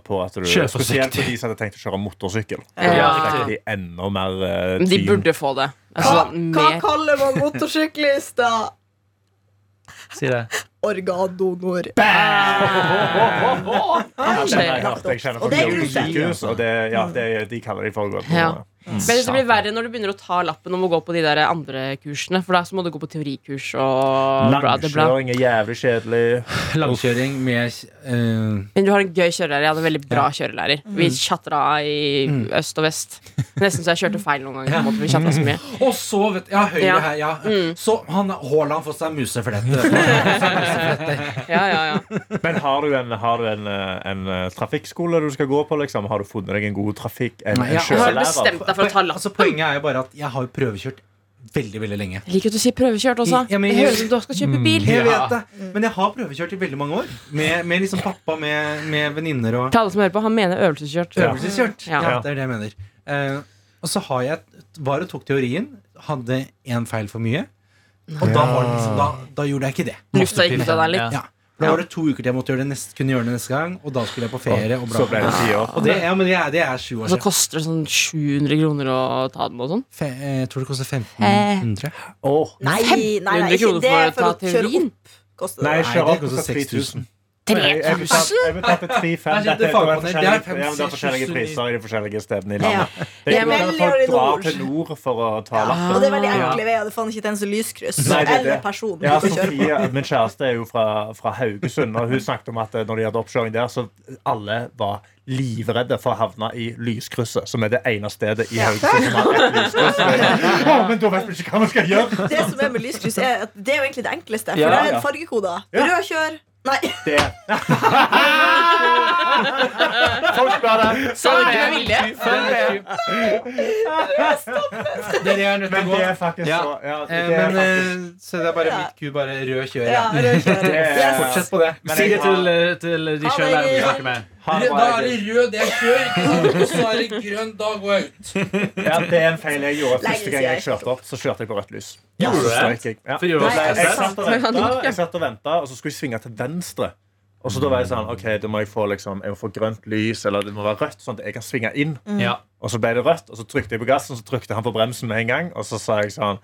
C: på at du
E: Kjør
C: Spesielt for
E: forsiktig.
C: de som hadde tenkt å kjøre motorsykkel.
G: Ja.
C: Da fikk de enda mer eh,
G: Men De
C: team.
G: burde få det.
D: Hva
G: Altså, mer.
D: kaller man motorsyklister?
E: Si det.
D: Organdonor.
C: Den har jeg hørt. Jeg kjenner
D: Og
C: folk
D: det
C: i
D: er
C: ulike
D: grusomt.
C: sykehus, og det, ja, det, de kaller de for å gå på.
G: Ja. Men det blir verre når du begynner å ta lappen om å gå på de der andre kursene. For da så må du gå på teorikurs og bla, det bla.
C: Langkjøring er jævlig kjedelig.
I: Langkjøring med eh,
G: Men du har en gøy kjørelærer. Jeg hadde en veldig bra kjørelærer. Vi chatter av i
I: Mm.
G: øst og vest. Nesten så jeg kjørte feil noen ganger. på en måte, for Vi chatter så mye
I: Og så, vet Ja, høyre
G: Ja.
I: her, ja.
G: Mm.
I: Så han Haaland får seg museflette.
G: Ja, ja, ja
C: Men har du, en, har du en, eh, en eh, trafikkskole du skal gå på? Liksom? Har du funnet deg en god trafikk? En,
I: Nei, jeg har
C: en
G: Du har
C: kjørelærer?
G: bestemt deg for å ta lappen.
I: altså, poenget er jo bare at jeg har jo prøvekjørt veldig, veldig lenge.
G: Jeg liker at du sier prøvekjørt også.
I: Ja, men Mm.
G: Det
I: jeg-
G: høres ut som du skal kjøpe bil.
I: Jeg vet det, men jeg har prøvekjørt i veldig mange år. Med, med liksom pappa, med, med venninner og
G: Til alle som hører på, han mener øvelseskjørt.
I: øvelseskjørt.
G: Ja.
I: Ja. det er det jeg mener. Eh, og så har jeg, var og tok teorien, hadde én feil for mye. Og da, var det liksom, da, da gjorde jeg ikke det.
G: Lufta gikk ut av deg litt.
I: Ja. Da var det to uker til jeg måtte gjøre det neste, kunne gjøre det neste gang, og da skulle jeg på ferie. Og, bla,
C: Så ble
I: bla,
C: det
I: bla.
C: ti år.
I: og det, ja, men det er, det er sju
G: Og
I: år
G: så
I: siden.
G: koster det sånn 700 kroner å ta den og sånn.
I: Fe, eh, jeg tror det koster
C: Eh.
I: 1500.
C: Åh.
D: Nei, nei, nei,
G: 100
D: ikke
G: kroner
D: det
G: for
D: for
G: å ta
D: å kjøre
G: teorien.
D: opp. Koster
C: Nei,
D: det.
I: Nei,
C: kjører
I: det
C: opp
I: koster
C: koster 3000.
I: 6000.
C: Jeg betalte
I: Nei,
C: 3500.
I: det
C: Dette
I: er fagpanel.
C: er
I: Det er
C: forskjellige-
I: fem,
C: ja, men det er
I: seks,
C: forskjellige
I: sju,
C: priser i de forskjellige stedene i
D: Ja.
C: landet. Det er
D: Jeg
C: jo at
D: velger
C: folk
D: det
C: drar
D: nord.
C: til nord for å ta
D: Og
C: lappen.
D: det er veldig
G: Ah.
D: enkle veier. Det er faen ikke et eneste lyskryss.
C: Nei, det er
D: Eller
C: det.
D: person.
C: Ja,
D: du kjører på.
C: Sofie, min kjæreste er jo fra, fra Haugesund, og hun snakket om at eh, når de hadde oppkjøring der, så alle var livredde for å havne i lyskrysset, som er det ene stedet i Haugesund som har et lyskryss. Å, men da vet vi ikke hva vi skal gjøre!
D: Det som er med lyskryss, er at det er jo egentlig det enkleste. For
C: Ja,
D: det er
C: ja.
D: fargekoder.
C: Ja.
D: Rød kjør. Nei,
C: Det. Folk bare
G: Sa du ikke med vilje?
I: Dere er nødt til å
C: Men det
I: gå.
C: er faktisk
I: Ja.
C: så ja, altså, det
I: Eh,
C: er
I: men,
C: faktisk,
I: eh, så det er bare mitt ku, bare rød kjør.
D: ja,
I: Ja.
D: rød kjør.
C: Det er-
D: Yes.
I: Fortsett på det.
E: Si det til, eh, til de
D: Ha det.
E: kjørelærerne du snakker med.
C: Ha det
F: Rød-
C: bra,
F: Da er det
C: Egil.
F: rød, jeg kjører, ikke sant? og så er det grønn, da går jeg ut.
C: Ja, det er en feil jeg gjorde.
D: Lenge
C: Første gang jeg
D: siden jeg
C: kjørte opp, så kjørte jeg på rødt lys.
E: Gjorde
C: Så
E: du det?
C: strøk jeg. Ja.
E: Fordi du var
C: Nei, Jeg
E: stresset?
C: satt og ventet, jeg satt og ventet, og så skulle jeg svinge til venstre. Og så da var jeg sånn, ok, da må jeg få, liksom, jeg må få grønt lys, eller det må være rødt, sånn at jeg kan svinge inn.
D: Mm.
E: Ja.
C: Og så ble det rødt, og så trykte jeg på gassen, så trykte han på bremsen med en gang, og så sa jeg sånn,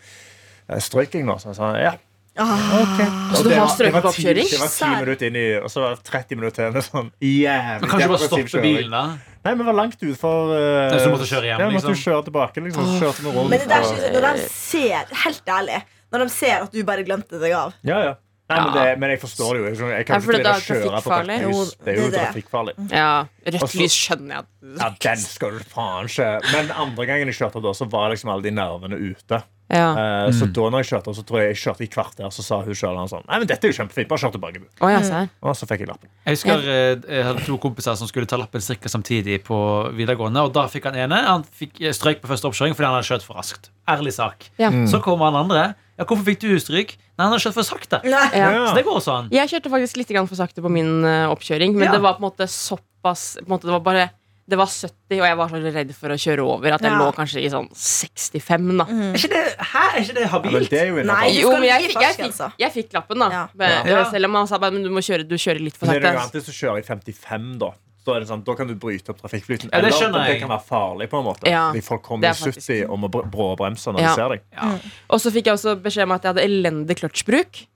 C: strøk jeg nå? Så jeg sa, ja.
G: Så
C: Og
G: du
C: det var-
G: har
C: det
G: strøket
C: var
G: på
C: ti-
G: oppkjøring?
C: Det var ti minutter inn i, og så var det 30 minutter igjen, og sånn, jævlig.
E: Kanskje bare
C: depressiv
E: stoppe
C: kjøring.
E: bilen, da?
C: Nei, vi var langt ut for eh,
E: Ja, så du måtte kjøre hjem,
C: Ja, vi måtte jo
E: liksom.
C: kjøre tilbake, liksom. Så kjørte vi rundt.
D: Men det der
C: og-
D: synes jeg, når de ser, helt ærlig Når de ser at du bare glemte deg av
C: Ja, ja. Nei, men,
G: Ja.
C: det, men jeg forstår det jo. Jeg, skjønner- jeg
G: Ja,
C: kan
G: for
C: ikke
G: det er
C: drive og kjøre på rødt
G: trafikkfarlig.
C: lys. Det er jo
D: det er det. Mm.
C: trafikkfarlig.
G: Ja, Rødt
C: Også-
G: lys skjønner jeg.
C: Ja, den skal du faen ikke. Men andre gangen jeg kjørte opp, da, så var liksom alle de nervene ute.
G: Ja.
C: Eh,
E: Mm.
C: Så da når jeg kjørte opp, så tror jeg jeg kjørte i kvarter, så sa hun sjøl sånn Nei, men dette er jo kjempefint. Bare kjør tilbake. du."
G: Å, ja, se her.
C: Og så fikk jeg lappen.
E: Jeg husker eh, jeg hadde to kompiser som skulle ta lappen strikka samtidig på videregående. Og da fikk han ene Han fikk eh, strøyk på første oppkjøring fordi han hadde kjørt for raskt. Ærlig sak.
G: Ja.
E: Så kommer han andre. Ja, 'Hvorfor fikk du stryk?' Nei, han hadde kjørt for sakte.
D: Nei,
G: Ja.
E: Så det går sånn.
G: Jeg kjørte faktisk litt grann for sakte på min eh, oppkjøring, men
E: Ja.
G: det var på en måte såpass på en måte, Det var bare det var 70, og jeg var så redd for å kjøre over at jeg
D: Ja.
G: lå kanskje i sånn 65. da
E: Er ikke det, hæ? Er ikke det
C: Ja, men
E: habilt?
C: det er jo
D: Nei,
C: innenfor.
D: du
G: Jo,
D: skal
G: men jeg,
D: ligge altså. i
G: fikk- jeg, fikk,
D: fartsgrensa.
G: jeg fikk lappen, da.
D: Ja.
G: Men-
E: Ja.
G: Selv om han sa bare Men du må kjøre, du kjører litt for
C: Men det er noe annet
G: sakte.
C: hvis du kjører i 55, da. Da, er det sånn, da kan du bryte opp trafikkflyten.
E: Ja, det
C: Eller
E: skjønner
C: det
E: jeg.
C: kan være farlig, på en måte.
G: Ja,
C: Fordi folk
G: det
C: kommer
G: er
C: i 70
G: faktisk-
C: og må br- bråbremse når de
G: Ja.
C: ser deg.
G: Og så fikk jeg også beskjed om at jeg hadde elendig kløtsjbruk.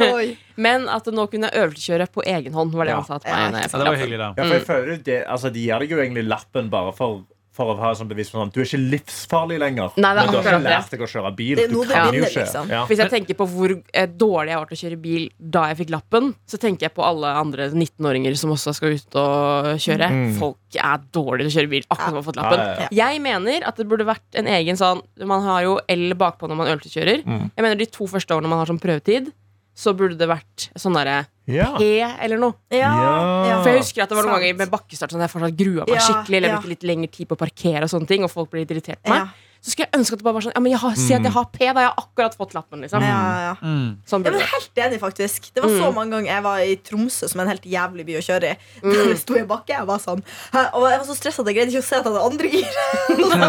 D: Oi.
G: Men at nå kunne jeg øvelseskjøre på egen hånd. Var det
C: Ja.
G: han sa til meg når jeg
E: Ja,
G: fikk
E: det var
G: lappen.
E: hyggelig, da.
C: Ja, for
G: Mm.
C: jeg føler jo det, altså, De gir deg jo egentlig lappen bare for, for å ha sånn bevis på sånn Du er ikke livsfarlig lenger.
G: Nei, det
C: men du har
G: er
C: ikke
G: akkurat det.
C: lært deg å kjøre bil.
D: Det er
C: Du
D: nå det
C: kan jo
D: begynner,
C: ikke.
D: liksom.
C: Ja.
G: Hvis jeg tenker på hvor eh, dårlig jeg var til å kjøre bil da jeg fikk lappen, så tenker jeg på alle andre 19-åringer som også skal ut og kjøre.
C: Mm.
D: Mm.
G: Folk er dårlige til å kjøre bil akkurat som de har fått lappen.
C: Ja, ja,
G: Jeg mener at det burde vært en egen sånn Man har jo L bakpå når man øvelseskjører.
D: Mm.
G: Jeg mener de to første årene man har sånn prøvetid, så burde det vært sånn derre
C: Ja.
G: E eller noe.
D: Ja, ja.
G: For jeg husker at det var
D: Sant.
G: noen ganger med bakkestart sånn at jeg fortsatt grua
D: Ja,
G: meg skikkelig. Eller
D: ja.
G: brukte litt lengre tid på å parkere og sånne ting, og folk ble litt irritert på
D: Ja,
G: meg. Så skulle jeg ønske at det bare var sånn Ja, men jeg har, si at jeg har P, da. Jeg har akkurat fått lappen, liksom.
D: ja, ja.
E: Mm.
D: Jeg
G: Sånn burde
D: er
G: det vært.
D: helt enig, faktisk. Det var
G: Mm.
D: så mange ganger jeg var i Tromsø, som er en helt jævlig by å kjøre i. Der det sto i bakke, jeg var sånn hæ? Og jeg var så stressa at jeg greide ikke å se at jeg hadde andre gir. Så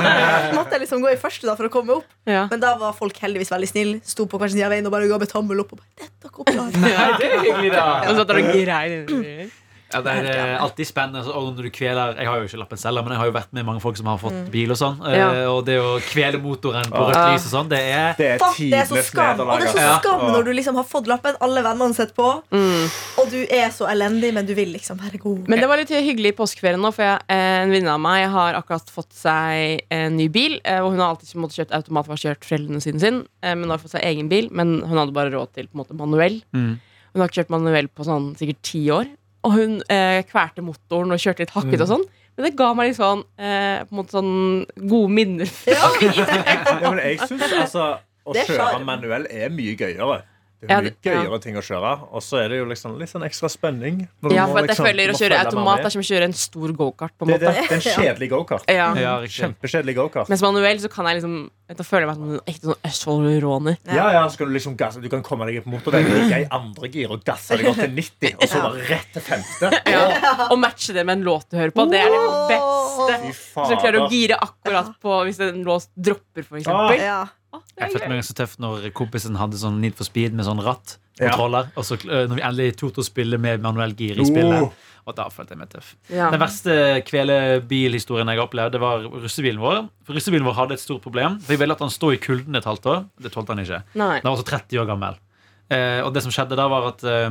D: måtte jeg liksom gå i første da for å komme opp.
G: Ja.
D: Men da var folk heldigvis veldig snille. Sto på hver sin side av veien og bare ga med tommel opp. Og bare, Dette går bra.
E: Nei, det er hyggelig, da.
G: Og så satt dere og grein inni
E: Ja, det er eh, alltid spennende altså, og når du kveler Jeg har jo ikke lappen selv, men jeg har jo vært med mange folk som har fått bil. Og sånn eh,
G: Ja.
E: Og det å kvele motoren på
C: Ja.
E: rødt lys og sånn, det er
C: Det er
D: Fuck, det er så
C: tidenes
D: skam. Og
C: nederlag. altså.
D: det er så
C: ass.
D: skam
C: Ja.
D: når du liksom har fått lappen, alle vennene sitter på,
G: Mm.
D: og du er så elendig, men du vil liksom være god.
G: Men det var litt hyggelig i påskeferien nå, for jeg, eh, en venninne av meg har akkurat fått seg en ny bil. eh, Og hun har alltid på en måte kjøpt automatvask kjørt foreldrene sine sin, eh, men hun har fått seg egen bil. Men hun hadde bare råd til på en måte manuell.
E: Mm.
G: Hun har ikke kjørt manuell på sånn sikkert ti år. Og hun eh, kvelte motoren og kjørte litt hakket
C: Mm.
G: og sånn. Men det ga meg litt sånn, eh, på en måte sånn gode minner.
C: Ja, men jeg syns altså å
D: Det er
C: kjøre
D: sjarm.
C: manuell er mye gøyere. Det
G: Ja,
C: er mye
G: det- ja.
C: gøyere ting å kjøre. Og så er det jo liksom litt sånn ekstra spenning. når du
G: Ja,
C: må
G: for at jeg
C: liksom-
G: føler
C: du
G: å
C: må
G: kjøre
C: følge
G: automat
C: med.
G: er som å kjøre en stor gokart, på en
C: Det, det,
G: måte.
C: det er en kjedelig gokart.
G: Ja.
E: ja, riktig.
C: Kjempekjedelig gokart.
G: Mens manuell så kan jeg liksom Da føler jeg meg som en ekte sånn Østfold-råner.
C: Ja, ja, så kan du liksom gasse Du kan komme deg på motorveien ligge i andre gir og gasse deg opp til 90, og så bare rett til femte.
G: ja. Og matche det med en låt du hører på. Det er det beste.
C: Fy
G: Så du klarer å
C: fader.
G: gire akkurat på hvis en låt dropper, for
C: Ah.
G: eksempel.
D: Ja.
E: Jeg følte meg så tøff når kompisen hadde sånn Need for speed med sånn ratt.
C: Ja.
E: Kontroller. Og så eh, når vi endelig torde å spille med manuell gir i
C: Oh.
E: spillet. Og da følte jeg meg tøff.
G: Ja.
E: Den verste kvelebilhistorien jeg har opplevd, det var russebilen vår. For Russebilen vår hadde et stort problem. For Jeg ville latt han stå i kulden et halvt år. Det tålte han ikke.
G: Nei.
E: Han var også 30 år gammel. Eh, og det som skjedde da, var at eh,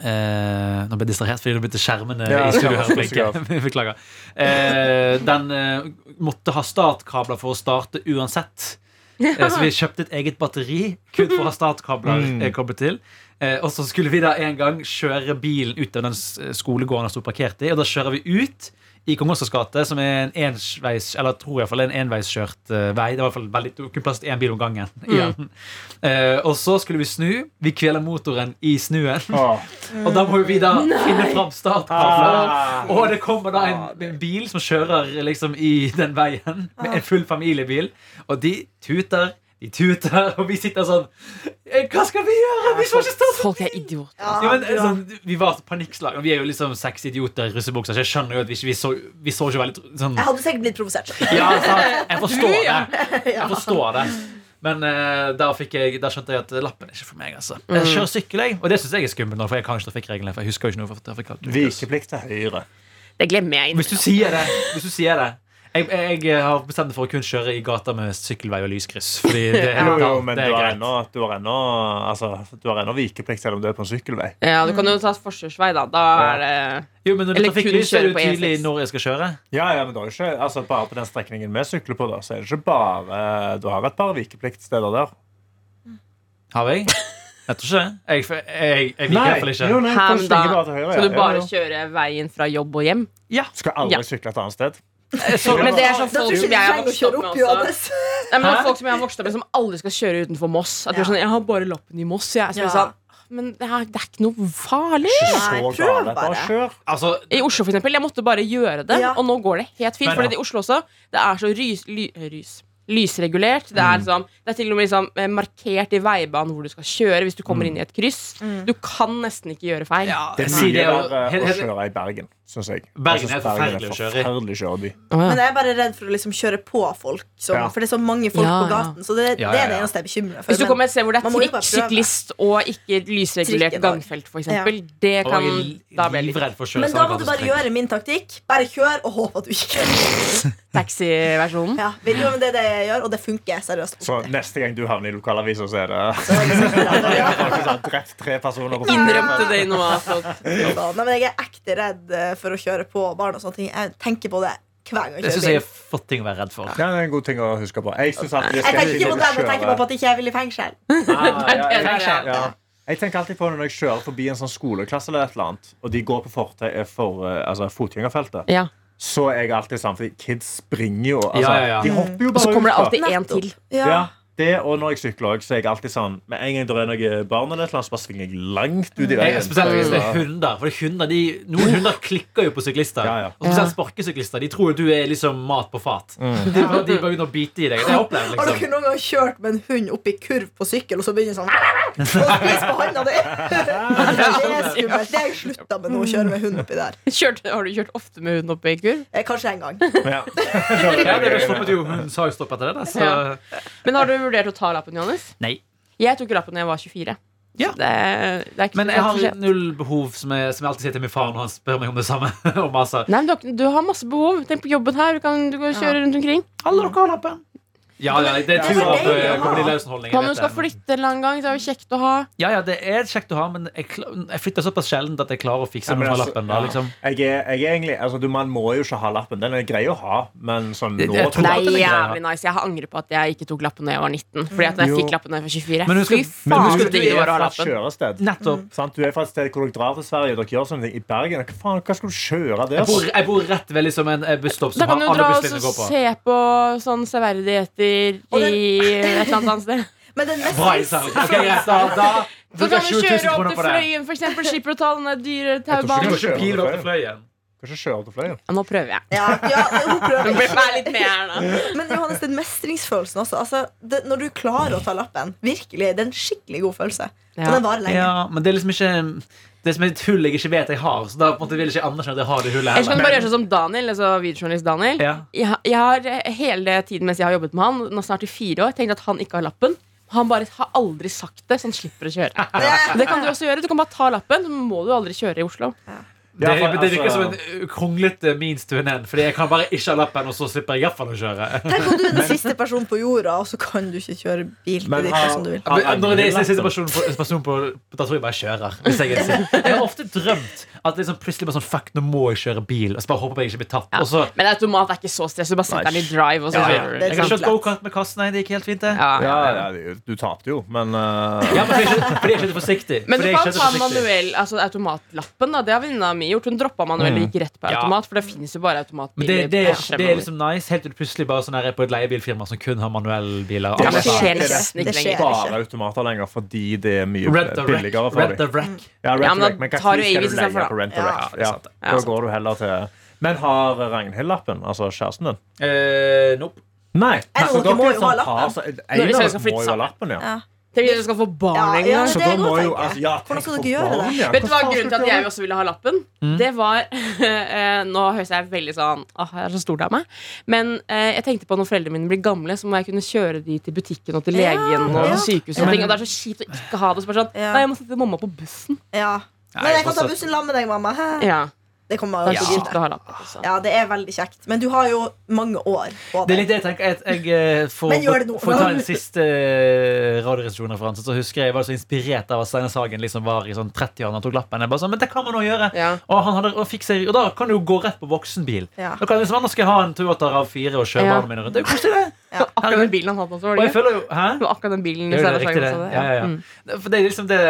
E: eh, Nå ble jeg distrahert fordi det begynte skjermene
C: Ja,
E: i studio
C: ja,
E: her å blinke.
C: så
E: Beklager. Eh, den eh, måtte ha startkabler for å starte uansett. Eh, Så vi kjøpte et eget batteri kun for å ha startkabler
C: Mm.
E: eh, koblet til. Eh, Og så skulle vi da en gang kjøre bilen ut av den s- skolegården han sto parkert i. Og da kjører vi ut i Kong Oscars gate, som er en enveis, eller jeg tror i hvert fall en enveiskjørt eh, vei. Det var i hvert fall veldig, det var kun plass til én bil om gangen. igjen. Eh, Og så skulle vi snu. Vi kveler motoren i snuen.
C: Åh.
E: Og da må jo vi da finne fram startkabler.
C: Ah.
E: Og det kommer da en, en bil som kjører liksom i den veien med en full familiebil. Og de tuter, de tuter, og vi sitter sånn «Eh, Hva skal vi gjøre? Vi får ikke starte
G: Folk er idioter.
D: Ja,
E: ja, men,
D: bra.
E: sånn, Vi var panikkslag. Og vi er jo liksom seks idioter i russebukser, så jeg skjønner jo at vi ikke vi så, vi så ikke veldig sånn
D: Jeg hadde sikkert blitt provosert.
E: Ja, sant? Jeg forstår
G: Du, ja.
E: det. Jeg forstår det. Men eh, da, fikk jeg, da skjønte jeg at lappen er ikke for meg. altså Jeg kjører sykkel, jeg. Og det syns jeg er skummelt, nå, for jeg kan ikke trafikkreglene. For jeg husker jo ikke noe fra trafikkreglene.
C: Vikeplikt til høyre.
G: Det glemmer jeg.
E: Hvis du sier det. Hvis du sier det. Jeg, jeg har bestemt meg for å kun kjøre i gata med sykkelvei og lyskryss. Fordi det, er
C: Jo, jo,
E: lokalt,
C: men
E: det
C: du
E: er
C: har
E: greit.
C: ennå du har ennå- altså, du har ennå vikeplikt selv om du er på en sykkelvei.
G: Ja, du kan jo ta forsvarsvei, da. Da er det
E: Jo, men når det
G: Eller
E: er trafikklys, så er
G: kun
E: det
G: kjøre på
E: jo tydelig
G: E6.
E: når jeg skal kjøre.
C: Ja, ja, men da er det ikke, altså, Bare på den strekningen vi sykler på, da, så er det ikke bare Du har et par vikepliktsteder der.
E: Har jeg? Jeg tror ikke det. Jeg, jeg, jeg, jeg liker i hvert fall ikke.
C: jo, nei,
G: Hæ,
C: folk
G: men
C: svinger bare til
G: da
C: høyre,
G: skal
C: ja,
G: du bare
C: jo, jo.
G: kjøre veien fra jobb og hjem.
C: Skal aldri
G: Ja.
C: sykle et annet sted.
G: Så, men det er sånn
D: Da tror
G: folk
D: jeg ikke
G: som
D: du
G: jeg har
D: trenger å
G: vokst
D: kjøre
G: opp med
D: opp,
G: også.
D: Johannes.
G: Nei, men det
E: Hæ?
G: er folk som jeg har vokst opp med, som aldri skal kjøre utenfor Moss. At du er
D: Ja.
G: sånn, jeg har bare lappen i Moss, jeg. Så blir jeg
D: Ja.
G: sånn, men det er, det er ikke noe farlig.
D: Nei,
C: Så
D: prøv
C: gale. Bare
D: bare.
C: kjør.
E: Altså,
G: I Oslo, for eksempel. Jeg måtte bare gjøre det,
D: Ja.
G: og nå går det helt fint. For
E: Men ja.
G: i Oslo også, det er så rys, ly, rys, lysregulert. Det
D: Mm.
G: er, liksom, det er til og med liksom, eh, markert i veibanen hvor du skal kjøre hvis du
D: Mm.
G: kommer inn i et kryss. Du kan nesten ikke gjøre feil.
C: Det er
E: si det,
C: mye
E: og-
C: verre
E: helt-
C: å
E: helt-
C: kjøre i Bergen, syns jeg.
E: Bergen
C: Jeg synes
E: er forferdelig å kjøre i.
C: forferdelig kjøreby.
D: Men jeg er bare redd for å liksom kjøre på folk, som,
C: Ja.
D: for det er så mange folk
G: Ja,
D: på
G: ja.
D: gaten. Så det,
E: Ja,
D: det
E: ja,
D: er det
E: ja.
D: eneste jeg bekymrer for.
G: Hvis du kommer et sted hvor det er
D: man må jo bare
G: trikk,
D: prøve.
G: syklist og ikke lysregulert
D: Trikken, da.
G: gangfelt, for eksempel det
E: og
G: kan,
E: jeg
G: Da blir
E: er
G: jeg litt
E: livredd for å kjøre
D: men da
E: samme
D: må du bare
E: gata som
D: gjøre min taktikk. Bare kjør og håp at du ikke
G: taxiversjonen.
D: ja, vil jo, men Det er det jeg gjør, og det funker seriøst.
C: Så neste gang du havner i lokalavisa, så er det Folk som har drept tre personer på
G: Innrømte det i noe annet.
D: Så, Nei, men jeg er ekte redd eh, for å kjøre på barn og sånne ting. Jeg tenker på det hver gang
E: Jeg
D: jeg
E: syns
D: kjører
E: jeg er
D: bil.
E: flott ting å være redd for.
C: Ja, det er en god ting å huske på. Jeg, synes alltid det
D: Jeg
C: skal
D: tenker ikke på det, men jeg tenker
C: kjøre-
D: bare på at ikke jeg vil i fengsel.
E: Ah,
C: ja,
G: det
C: jeg,
G: der,
C: tenker, ja. jeg tenker alltid på det når jeg kjører forbi en sånn skoleklasse, eller et eller annet, og de går på fortau for eh, altså, fotgjengerfeltet.
G: Ja.
C: Så er jeg alltid sånn, fordi kids springer jo. Altså,
E: Ja, ja, ja.
C: De hopper jo
G: Og
C: bare
G: så kommer det
C: ut, da.
G: alltid én til.
D: Ja.
C: Ja, det, og når jeg sykler også, så er jeg alltid sånn Med en gang det er noen barn eller et eller annet, så bare svinger jeg langt ut i
E: Mm. Jeg,
C: veien.
E: spesielt hvis det er
C: Ja.
E: hunder. For det er hunder de, noen hunder klikker jo på syklister.
C: Ja, ja.
E: Og spesielt
G: Ja.
E: sparkesyklister. De tror jo du er liksom mat på fat.
C: Mm.
E: De, bare, de bare begynner å bite i deg. Det har jeg opplevd,
D: Har dere
E: liksom.
D: noen gang kjørt med en hund opp i kurv på sykkel, og så begynner sånn Og spis på handa di! Det er skummelt. Det har jeg slutta med nå, å kjøre med hund oppi der.
G: Kjørt, har du kjørt ofte med hunden oppe i kurv?
D: Eh, Kanskje en gang.
C: Ja.
E: Ja, det ble stoppet jo. Hun sa jo stopp etter det. Da, så.
G: Ja. Men har du vurdert å ta lappen, Johannes?
E: Nei.
G: Jeg tok lappen da jeg var 24.
E: Ja.
G: Det, er- det er ikke
E: Men
G: det er
E: jeg
G: for
E: har
G: sent.
E: null behov, som jeg, som jeg alltid sier til min far når han spør meg om det samme. og maser.
G: Nei, men du, har ikke- du har masse behov. Tenk på jobben her. Du kan, du kan kjøre rundt omkring.
E: Alle dere har lappen. Ja, ja, det er
D: Det
E: tur eh,
D: var
E: av
D: deilig å ha.
E: Karoline Lausen-holdning.
G: Hva om du skal flytte en eller annen gang? Det er jo kjekt å ha.
E: Ja, ja, det er kjekt å ha, men jeg, kla- jeg flytter såpass sjelden at jeg klarer å fikse
C: Ja, men
E: noe med
C: altså,
E: lappen. da,
C: ja.
G: Mm.
E: liksom.
C: Jeg er, jeg er egentlig, altså, du, man må jo ikke ha lappen. Den er grei å ha, men sånn
E: Det-
C: nå
E: jeg tror
C: tror
G: Det
C: jeg
G: er
C: at den grei å ha.
G: jævlig nice. Jeg angrer på at jeg ikke tok lappen da jeg var 19. Fordi at når jeg
C: Jo.
G: fikk lappen da jeg var 24
E: Men husk
G: Fy
E: at- men
G: faen, så
E: husk at
G: digg
E: du
G: det var
E: er
G: å ha
C: Fra
G: lappen.
C: kjørested.
E: Nettopp.
C: Sant? Du er fra et sted hvor dere drar til Sverige og dere gjør sånne ting. I Bergen Hva faen, hva skal du kjøre der?
E: Jeg bor, jeg bor rett ved liksom en eh, busstopp
G: Da
E: som
G: kan
E: har
G: du
E: alle
G: dra og
E: busslinjene
G: så
E: å gå på.
G: se på sånn severdigheter
D: Og den-
G: i et eller annet annet sted.
D: Men den mest
E: Bra innsalg. Ok, greit, da, da
G: Så
E: bruker
G: kan
E: jeg
G: Sånn du
E: 20
G: kjøre
E: 000
G: opp
E: kroner
G: til
E: på det.
G: Fløyen, for eksempel. Slipper å ta den der dyre
E: Du
G: taubanen.
E: må ikke pile opp til Fløyen.
C: Kan ikke kjøre til Fløyen.
G: Ja, nå prøver jeg.
D: Ja, ja, hun prøver
G: Bli meg
D: ikke.
G: litt med her, da.
D: Men Johannes, den mestringsfølelsen også. Altså, det, når du klarer å ta lappen, virkelig, det er en skikkelig god følelse. Og den varer lenge.
E: Ja, men det er liksom ikke Det er som et hull jeg ikke vet jeg har. Så da på en måte vil jeg ikke anerkjenne at jeg har det hullet
G: Ellers kan du
E: heller.
G: bare gjøre sånn som Daniel, altså videojournalist Daniel.
E: Ja.
G: Jeg, jeg har eh, hele tiden mens jeg har jobbet med han, nå snart i fire år, tenkt at han ikke har lappen. Han bare har aldri sagt det, så han slipper å kjøre. Det kan du også gjøre. Du kan bare ta lappen, så må du aldri kjøre i Oslo.
E: Det,
C: Ja, for,
E: det virker
C: altså-
E: som en uh, kronglete means to an end. Fordi jeg kan bare ikke ha lappen, og så slipper jeg iallfall å kjøre.
D: Tenk om du er den siste personen på jorda, og så kan du ikke kjøre bil til
C: Men
D: dit
C: har-
D: som du vil.
C: har
E: Men Når det er
C: lappen-
E: siste person på, person på, Da tror jeg bare jeg kjører. Hvis jeg, er sin- jeg har ofte drømt at liksom plutselig bare sånn Fuck, nå må jeg kjøre bil. Og så bare håper jeg ikke blir tatt. Og så
G: Men automat er ikke så stress. Du bare setter den i drive, og så
E: ja, ja.
G: kjører du. liksom.
E: Jeg har kjørt gokart med kassen. Nei, det gikk helt fint, det.
G: Ja.
C: Ja, ja, det- du tapte jo, men eh,
E: Ja, men fordi jeg ikke- fordi jeg ikke er forsiktig.
G: Men du
E: Fordi jeg
G: kan
E: ikke er
G: ta
E: forsiktig.
G: manuell, altså automatlappen. da Det har venninna mi gjort. Hun droppa manuell og gikk rett på
E: Mm. Ja.
G: automat. For det finnes jo bare
E: Men det,
G: automatbiler.
E: det,
G: på
E: er, det er
G: fremover.
E: liksom nice, helt til du plutselig bare sånn her er på et leiebilfirma som kun har manuellbiler.
G: Ja, men det
C: Det
G: skjer
C: er
G: nesten
D: det
G: ikke lenger.
D: skjer.
C: bare automater lenger fordi det er mye
E: Rent a wreck.
C: billigere for
E: Rent
C: dem.
E: a wreck.
C: Ja, rent
G: Ja,
C: a
G: men da
C: wreck, men hva
G: tar du
C: tid skal
G: Avis
C: du
G: istedenfor,
C: leie
G: da.
C: på rent a
D: Ja,
C: wreck?
E: det er
C: Ja,
E: sant, det.
G: Ja,
C: Da
G: sant.
C: går du heller til Men har Ragnhild lappen? Altså kjæresten din?
G: Mm.
E: Eh, nope.
C: Nei.
D: Eller
C: altså,
D: dere må
C: er
D: jo ha
C: sånn
D: lappen.
C: par som- en
G: Når de
C: av
G: skal
C: dere må
G: flytte
C: jo ha
G: sammen.
C: lappen, ja.
D: Ja.
G: Tenk hvis dere skal få barn
D: Ja,
G: en
D: ja,
G: gang.
D: det
C: Så
D: er
C: da
D: godt
C: må
D: å
C: jo
D: tenke.
C: altså, ja,
D: Hvordan
C: tenk
D: skal
C: på
D: dere gjøre
C: barn,
D: det?
C: ja.
G: Vet du
C: Hvordan
G: hva
C: faen
G: grunnen til
C: skal
G: at
C: dere
G: jeg også ville ha lappen?
E: Mm.
G: Det var eh, Nå høres jeg veldig sånn Åh, jeg er så stor dame. Men eh, jeg tenkte på når foreldrene mine blir gamle, så må jeg kunne kjøre de til butikken og til
D: Ja,
G: legen og
D: ja.
G: til sykehuset. Og, ting, og det er så kjipt å ikke ha det. Så bare sånn,
D: Ja.
G: Nei, jeg må sette mamma på bussen.
D: Ja. Men jeg kan ta bussen sammen med deg, mamma. Hæ?
G: Ja,
D: Det kommer
G: Det
D: jo
G: er
D: til å
G: kjipt å ha lappen. Altså.
D: Ja, det er veldig kjekt. Men du har jo mange år på
E: Det
D: deg.
E: er litt det jeg tenker. At jeg eh, får,
D: Men gjør det nå.
E: får ta en siste eh, Radioresepsjon-referanse. Så husker jeg jeg var så inspirert av at Steinar Sagen liksom var i sånn 30-årene og tok lappen. Jeg bare sånn, men det kan man nå gjøre
G: Ja.
E: og, han hadde, og, fikser, og da kan du jo gå rett på voksenbil.
D: Ja.
E: Da kan jeg liksom, nå skal jeg ha en Toyota RAV4 og kjøre
G: Ja.
E: barna mine rundt. Det er jo koselig, det.
G: Det var Akkurat den bilen han hadde også, var
E: Og
G: det
E: jeg
G: ikke?
E: føler jo Hæ?
G: Det var akkurat den bilen.
E: Det er jo det,
G: Sarah
E: riktig, det.
G: Sagen også,
E: Ja, ja, ja.
G: Mm.
E: For det er liksom det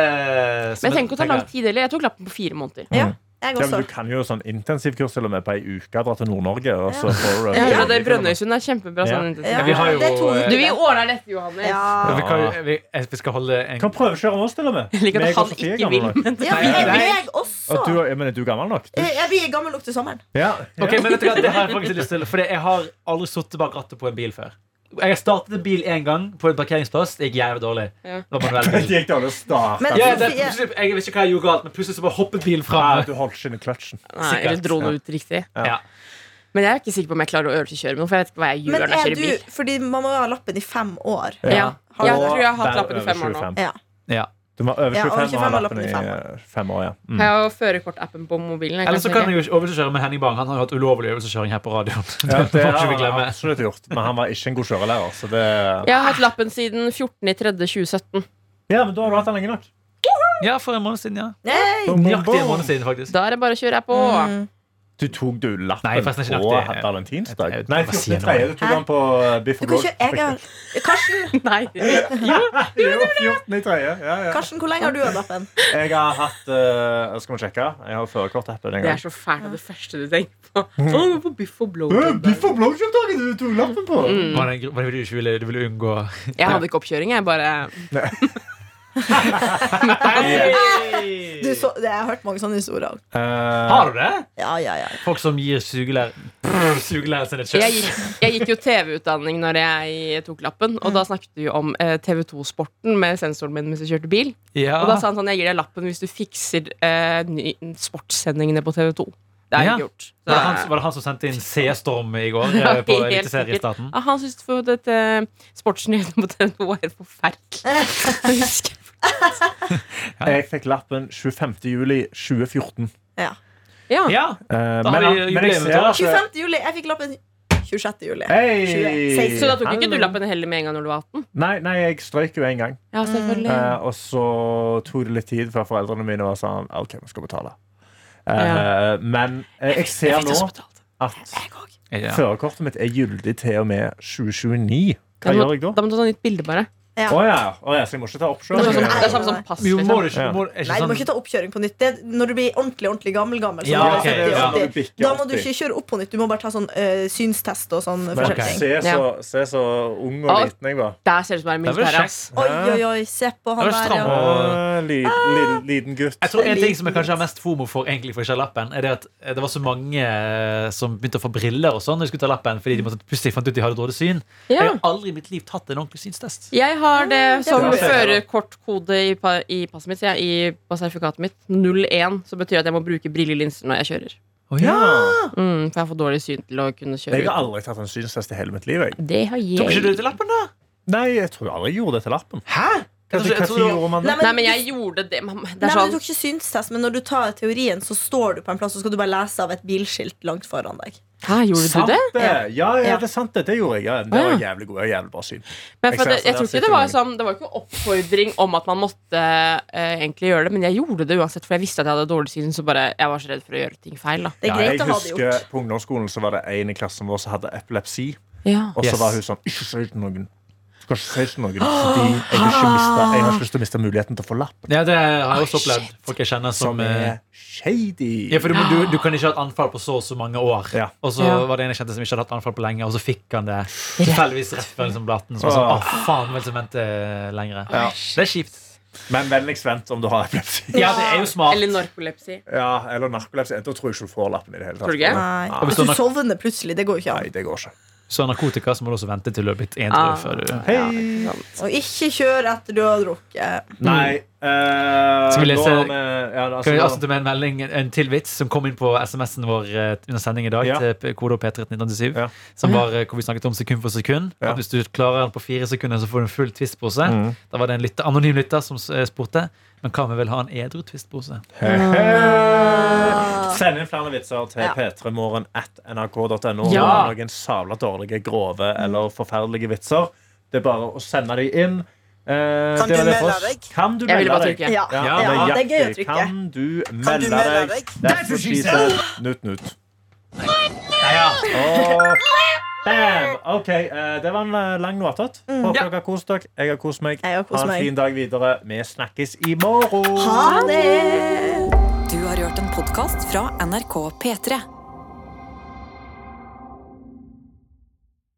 E: som
G: Men tenk å ta lang
E: tenker-
G: tid. Eller jeg tok lappen på fire måneder.
D: Ja, jeg
C: Ja,
D: også.
C: men du kan jo sånn intensivkurs til og med på ei uke dra til Nord-Norge. Og så
D: Ja.
C: får du
G: Jeg hører at det i Brønnøysund er kjempebra
C: Ja.
G: sånn
D: Ja,
E: Men vi har jo,
D: det er to
E: eh,
D: uker.
G: Du, vi ordner dette, Johannes.
D: ja.
E: Vi, kan, vi, vi skal holde en
C: Kan prøvekjøre med oss, til og med.
G: Jeg liker
C: Meg
G: at
C: og
G: han
C: Sofie er
G: ikke
C: gamle
G: vil,
C: nok.
G: men
D: ja, men jeg,
E: Nei, nei.
D: jeg også.
C: Og du, jeg mener, du er gammel nok? Du,
D: Jeg, jeg blir gammel nok til sommeren.
C: ja.
E: Ok, men vet du hva, det har jeg faktisk lyst til Fordi jeg har aldri sittet bak rattet på en bil før Jeg har startet en bil en gang på en parkeringsplass Det gikk jævlig dårlig
G: Ja.
E: Det var manuell
C: Det
E: bil.
C: gikk dårlig å starte.
D: Men-
E: ja, det, plutselig- Jeg vet ikke hva jeg gjorde galt Men plutselig så bare hoppet bilen fra
C: Nei,
E: meg
C: du holdt ikke inn i kløtsjen.
G: Nei, eller dro det ut riktig.
E: ja.
G: Men jeg er ikke sikker på om jeg klarer å øvelseskjøre med noe, for jeg vet ikke hva jeg
D: Men
G: gjør når jeg
D: er
G: kjører
D: du
G: bil.
D: Fordi man må jo ha lappen i fem år.
G: Ja.
D: Har
G: Jeg
D: du-
G: tror jeg har hatt
C: Og
G: lappen i
C: over
G: fem år nå.
C: 25.
D: Ja.
E: Ja.
C: Du må over
D: Ja,
C: 25
D: over
C: og ha
D: 25 og
C: lappen i
D: lappen i fem
C: eh, fem år. ja mm.
G: Jeg har jo førerkortappen på mobilen. jeg kan
E: Eller så kan
G: sjekke.
E: jeg jo ikke øvelseskjøre med Henning Bang Han har jo hatt ulovlig øvelseskjøring her på radioen
C: Ja, det
E: må
C: har
E: ikke vi
C: han
E: glemme.
C: absolutt gjort, men han var ikke en god kjørelærer. Så det...
G: jeg har hatt lappen siden 14.3.2017.
C: Ja, men da har du hatt den lenge nok.
E: Ja, for en måned siden, ja
D: Nei.
E: Nøyaktig en måned siden faktisk
G: Da er det bare å kjøre her på.
D: Mm.
C: Du tok du lappen
E: Nei, forresten ikke
C: på
E: nøyaktig.
C: valentinsdag?
E: Jeg- jeg-
C: Nei,
E: jeg-
C: 14.3. Du tok den på eh, Biff
D: Du
C: og
D: kan
C: Blog.
D: ikke, jeg har, Karsten,
G: Nei,
C: Det er jo 14.3. Ja, ja.
D: Karsten, hvor lenge har du hatt lappen?
C: Jeg har hatt eh, Skal vi sjekke? Jeg har førerkortappen en
G: det
C: gang.
G: er så fælt av det første du tenker på. Å, du er på biff og blowjob.
C: Biff og blowjob-dagen du tok lappen på!
G: Mm.
E: Var det en gru- var det fordi du ikke ville, du ville unngå
G: Jeg hadde ikke oppkjøring, jeg bare
D: Du, så, det, jeg har hørt mange sånne historier.
C: Eh,
E: Har du det?
D: Ja, ja, ja.
E: Folk som gir sugelær Sugelær sin et
G: Jeg
E: kjøtt
G: gikk, jeg gikk jo TV-utdanning når jeg tok lappen, og da snakket vi jo om eh, TV2-sporten med sensoren min mens jeg kjørte bil.
E: Ja.
G: Og da sa han sånn, jeg gir deg lappen hvis du fikser eh, ny, sportssendingene på TV2. Det har jeg
E: Ja.
G: ikke gjort.
E: Var det, han, var det han som sendte inn C-storm i går eh, på
G: Helt
E: Eliteseriestaten?
G: sikkert. Ja, han syntes for at, eh, sportsnyhetene på TV2 var helt forferdelig. Det husker jeg
C: Jeg fikk lappen 25. juli 2014.
D: Ja.
G: Ja.
E: Ja,
C: Eh,
E: Da
C: men,
E: har vi
C: men jeg
E: jubileet
C: ser at
D: 25. juli. Jeg fikk lappen 26. juli.
C: Hei!
D: 20.
G: Så da tok ikke du lappen heller med en gang når du var 18?
C: Nei, nei, jeg strøyk jo én gang.
G: Ja, selvfølgelig.
C: Eh, og så tok det litt tid før foreldrene mine var sånn OK, vi skal betale. Eh,
G: Ja.
C: Men eh, jeg ser nå at
E: ja.
C: førerkortet mitt er gyldig til og med 2029.
G: Da
C: Hva
G: må-
C: gjør jeg da?
G: Da må du ta nytt bilde, bare.
C: Å ja. å ja, så jeg må ikke ta opp
G: Det
C: sjøl?
G: er sånn som-
D: Nei.
G: det er samme som pass.
E: Jo, må
G: Liksom.
E: du ikke, sånn- må, er
D: Nei, du må
E: ikke
D: ikke ta oppkjøring på nytt. Det, er når du blir ordentlig ordentlig gammel, gammel så
E: Ja,
D: når du
E: ok,
D: er 70, 80,
E: ja.
C: Når du bikker
D: Da må du
C: 80.
D: ikke kjøre opp på nytt. Du må bare ta sånn eh, synstest og sånn.
C: Men
D: forskjellige ting.
C: se, så, se så ung og
G: Ja.
C: liten jeg var.
G: Der ser det ut som det er
E: Det er vel
G: militæret.
E: kjekt.
C: Hæ?
D: Oi, oi, oi, se på han
E: Det
D: der,
E: var
D: ja.
E: stramt.
C: Eh, li, li, liten gutt.
E: Jeg tror En ting som jeg kanskje har mest fomo for egentlig for ikke å ta lappen, er det at det var så mange eh, som begynte å få briller og sånn når de skulle ta lappen fordi de måtte, plutselig fant ut de hadde dårlig syn. Jeg
G: Ja.
E: har aldri i mitt liv tatt en ordentlig synstest.
G: Jeg har det som
D: det
C: er bra.
G: førerkortkode i, pa- i passet mitt. Ja, I på sertifikatet mitt. 01, som betyr at jeg må bruke brillelinser når jeg kjører.
C: Ja.
G: Mm, for jeg får dårlig syn til å kunne kjøre.
C: Jeg har aldri tatt en synstest i hele mitt liv. Jeg.
G: ut. Det har
E: Tok ikke du
G: jeg.
E: til lappen, da?
C: Nei, jeg tror aldri jeg gjorde det til lappen.
E: Hæ? Jeg tror-
C: Kanskje,
E: jeg
C: kanskje
E: tror-
C: gjorde man det?
D: Nei,
G: Nei,
D: men,
G: men jeg gjorde det. mamma. Det
D: Nei,
G: er
D: men Du
G: sånn
D: tok ikke synstest, men når du tar teorien, så står du på en plass og skal du bare lese av et bilskilt langt foran deg.
G: Hæ, gjorde
C: Sant
G: du det?
C: det! Ja, ja,
D: Ja.
C: det er sant det. Det gjorde jeg. Ja, det
G: Ja.
C: var jævlig god. Jeg har jævlig bra syn. Jeg ser
G: Men for det,
C: så
G: jeg
C: det
G: tror
C: er
G: ikke det var
C: sikkert
G: sånn Det var ikke en oppfordring om at man måtte eh, egentlig gjøre det, men jeg gjorde det uansett, for jeg visste at jeg hadde dårlig syn, så bare jeg var så redd for å gjøre ting feil, da.
D: Det er
C: Ja,
D: greit
C: jeg
D: å ha det
C: husker
D: gjort.
C: På ungdomsskolen så var det en i klassen vår som hadde epilepsi.
G: Ja.
C: Og så
E: Yes.
C: var hun sånn Ikke si det til noen. Du skal ikke si det til noen Fordi jeg, vil ikke miste, jeg har ikke lyst til å miste muligheten til å få lappen.
E: Ja, det har jeg også opplevd. Folk jeg kjenner som
C: Som
E: eh,
C: er shady.
E: ja, for du, må- du, du kan ikke ha et anfall på så og så mange år.
C: Ja.
E: Og så
G: Ja.
E: var det en jeg kjente som ikke hadde hatt anfall på lenge, og så fikk han det tilfeldigvis rett før liksom, blaten. Så var det sånn, å faen, vel så vente lengre.
C: Ja.
E: Det er kjipt.
C: Men vennligst vent om du har epilepsi.
E: Ja, det er jo smart.
G: Eller narkolepsi.
C: Ja, Eller narkolepsi. Da tror jeg ikke du får lappen i det hele
G: Tror du ikke?
C: tatt.
D: Nei.
E: Og
D: Hvis
E: hvis
D: du
E: du-
D: sovner plutselig, det går jo ikke
C: Nei,
D: an.
C: det går ikke.
E: Så narkotika så må du også vente til du har blitt edru.
G: Ah.
E: før du-
G: Ja, ikke sant.
D: Og ikke kjør etter du har drukket.
C: Nei. eh,
E: Skal vi lese-
C: nå har Mm. vi- ja, altså,
E: Kan vi
C: nå-
E: avslutte med en melding, en til vits som kom inn på SMS-en vår eh, under sending i dag.
C: Ja.
E: til P- kode og P3 1987
C: Ja.
E: Som var eh, hvor vi snakket om sekund for sekund.
C: Ja.
E: At hvis du klarer den på fire sekunder, så får du en full twistpose.
C: Mhm.
E: Da var det en lytter, anonym lytter som eh, spurte Men kan vi vel ha en edru twistpose.
C: Hehe. Send inn flere vitser til
D: Ja.
C: p3morgen at nrk.no.
E: Ja.
C: Om Noen sabla dårlige, grove eller forferdelige vitser. Det er bare å sende dem inn.
J: Kan
C: Eh, det var
J: du
C: det for
J: melde
C: oss.
J: deg?
C: Kan du
G: Jeg ville
C: melde
G: bare
C: deg?
G: trykke.
D: Ja,
C: Ja,
D: ja,
C: det er
D: gøy å
C: jaktig.
D: trykke.
C: Kan du
J: Kan
C: melde
J: du melde
C: deg?
J: deg?
C: That's what she said. Nut, nut. Og bam! OK, eh, det var en eh, lang notat. Håper
E: Ja.
C: dere har kost dere. Jeg har kost meg.
D: Jeg har kost
C: ha en
D: meg.
C: fin dag videre. Vi snakkes i morgen.
D: 아, Ha det!
A: Du har hørt en podkast fra NRK P3.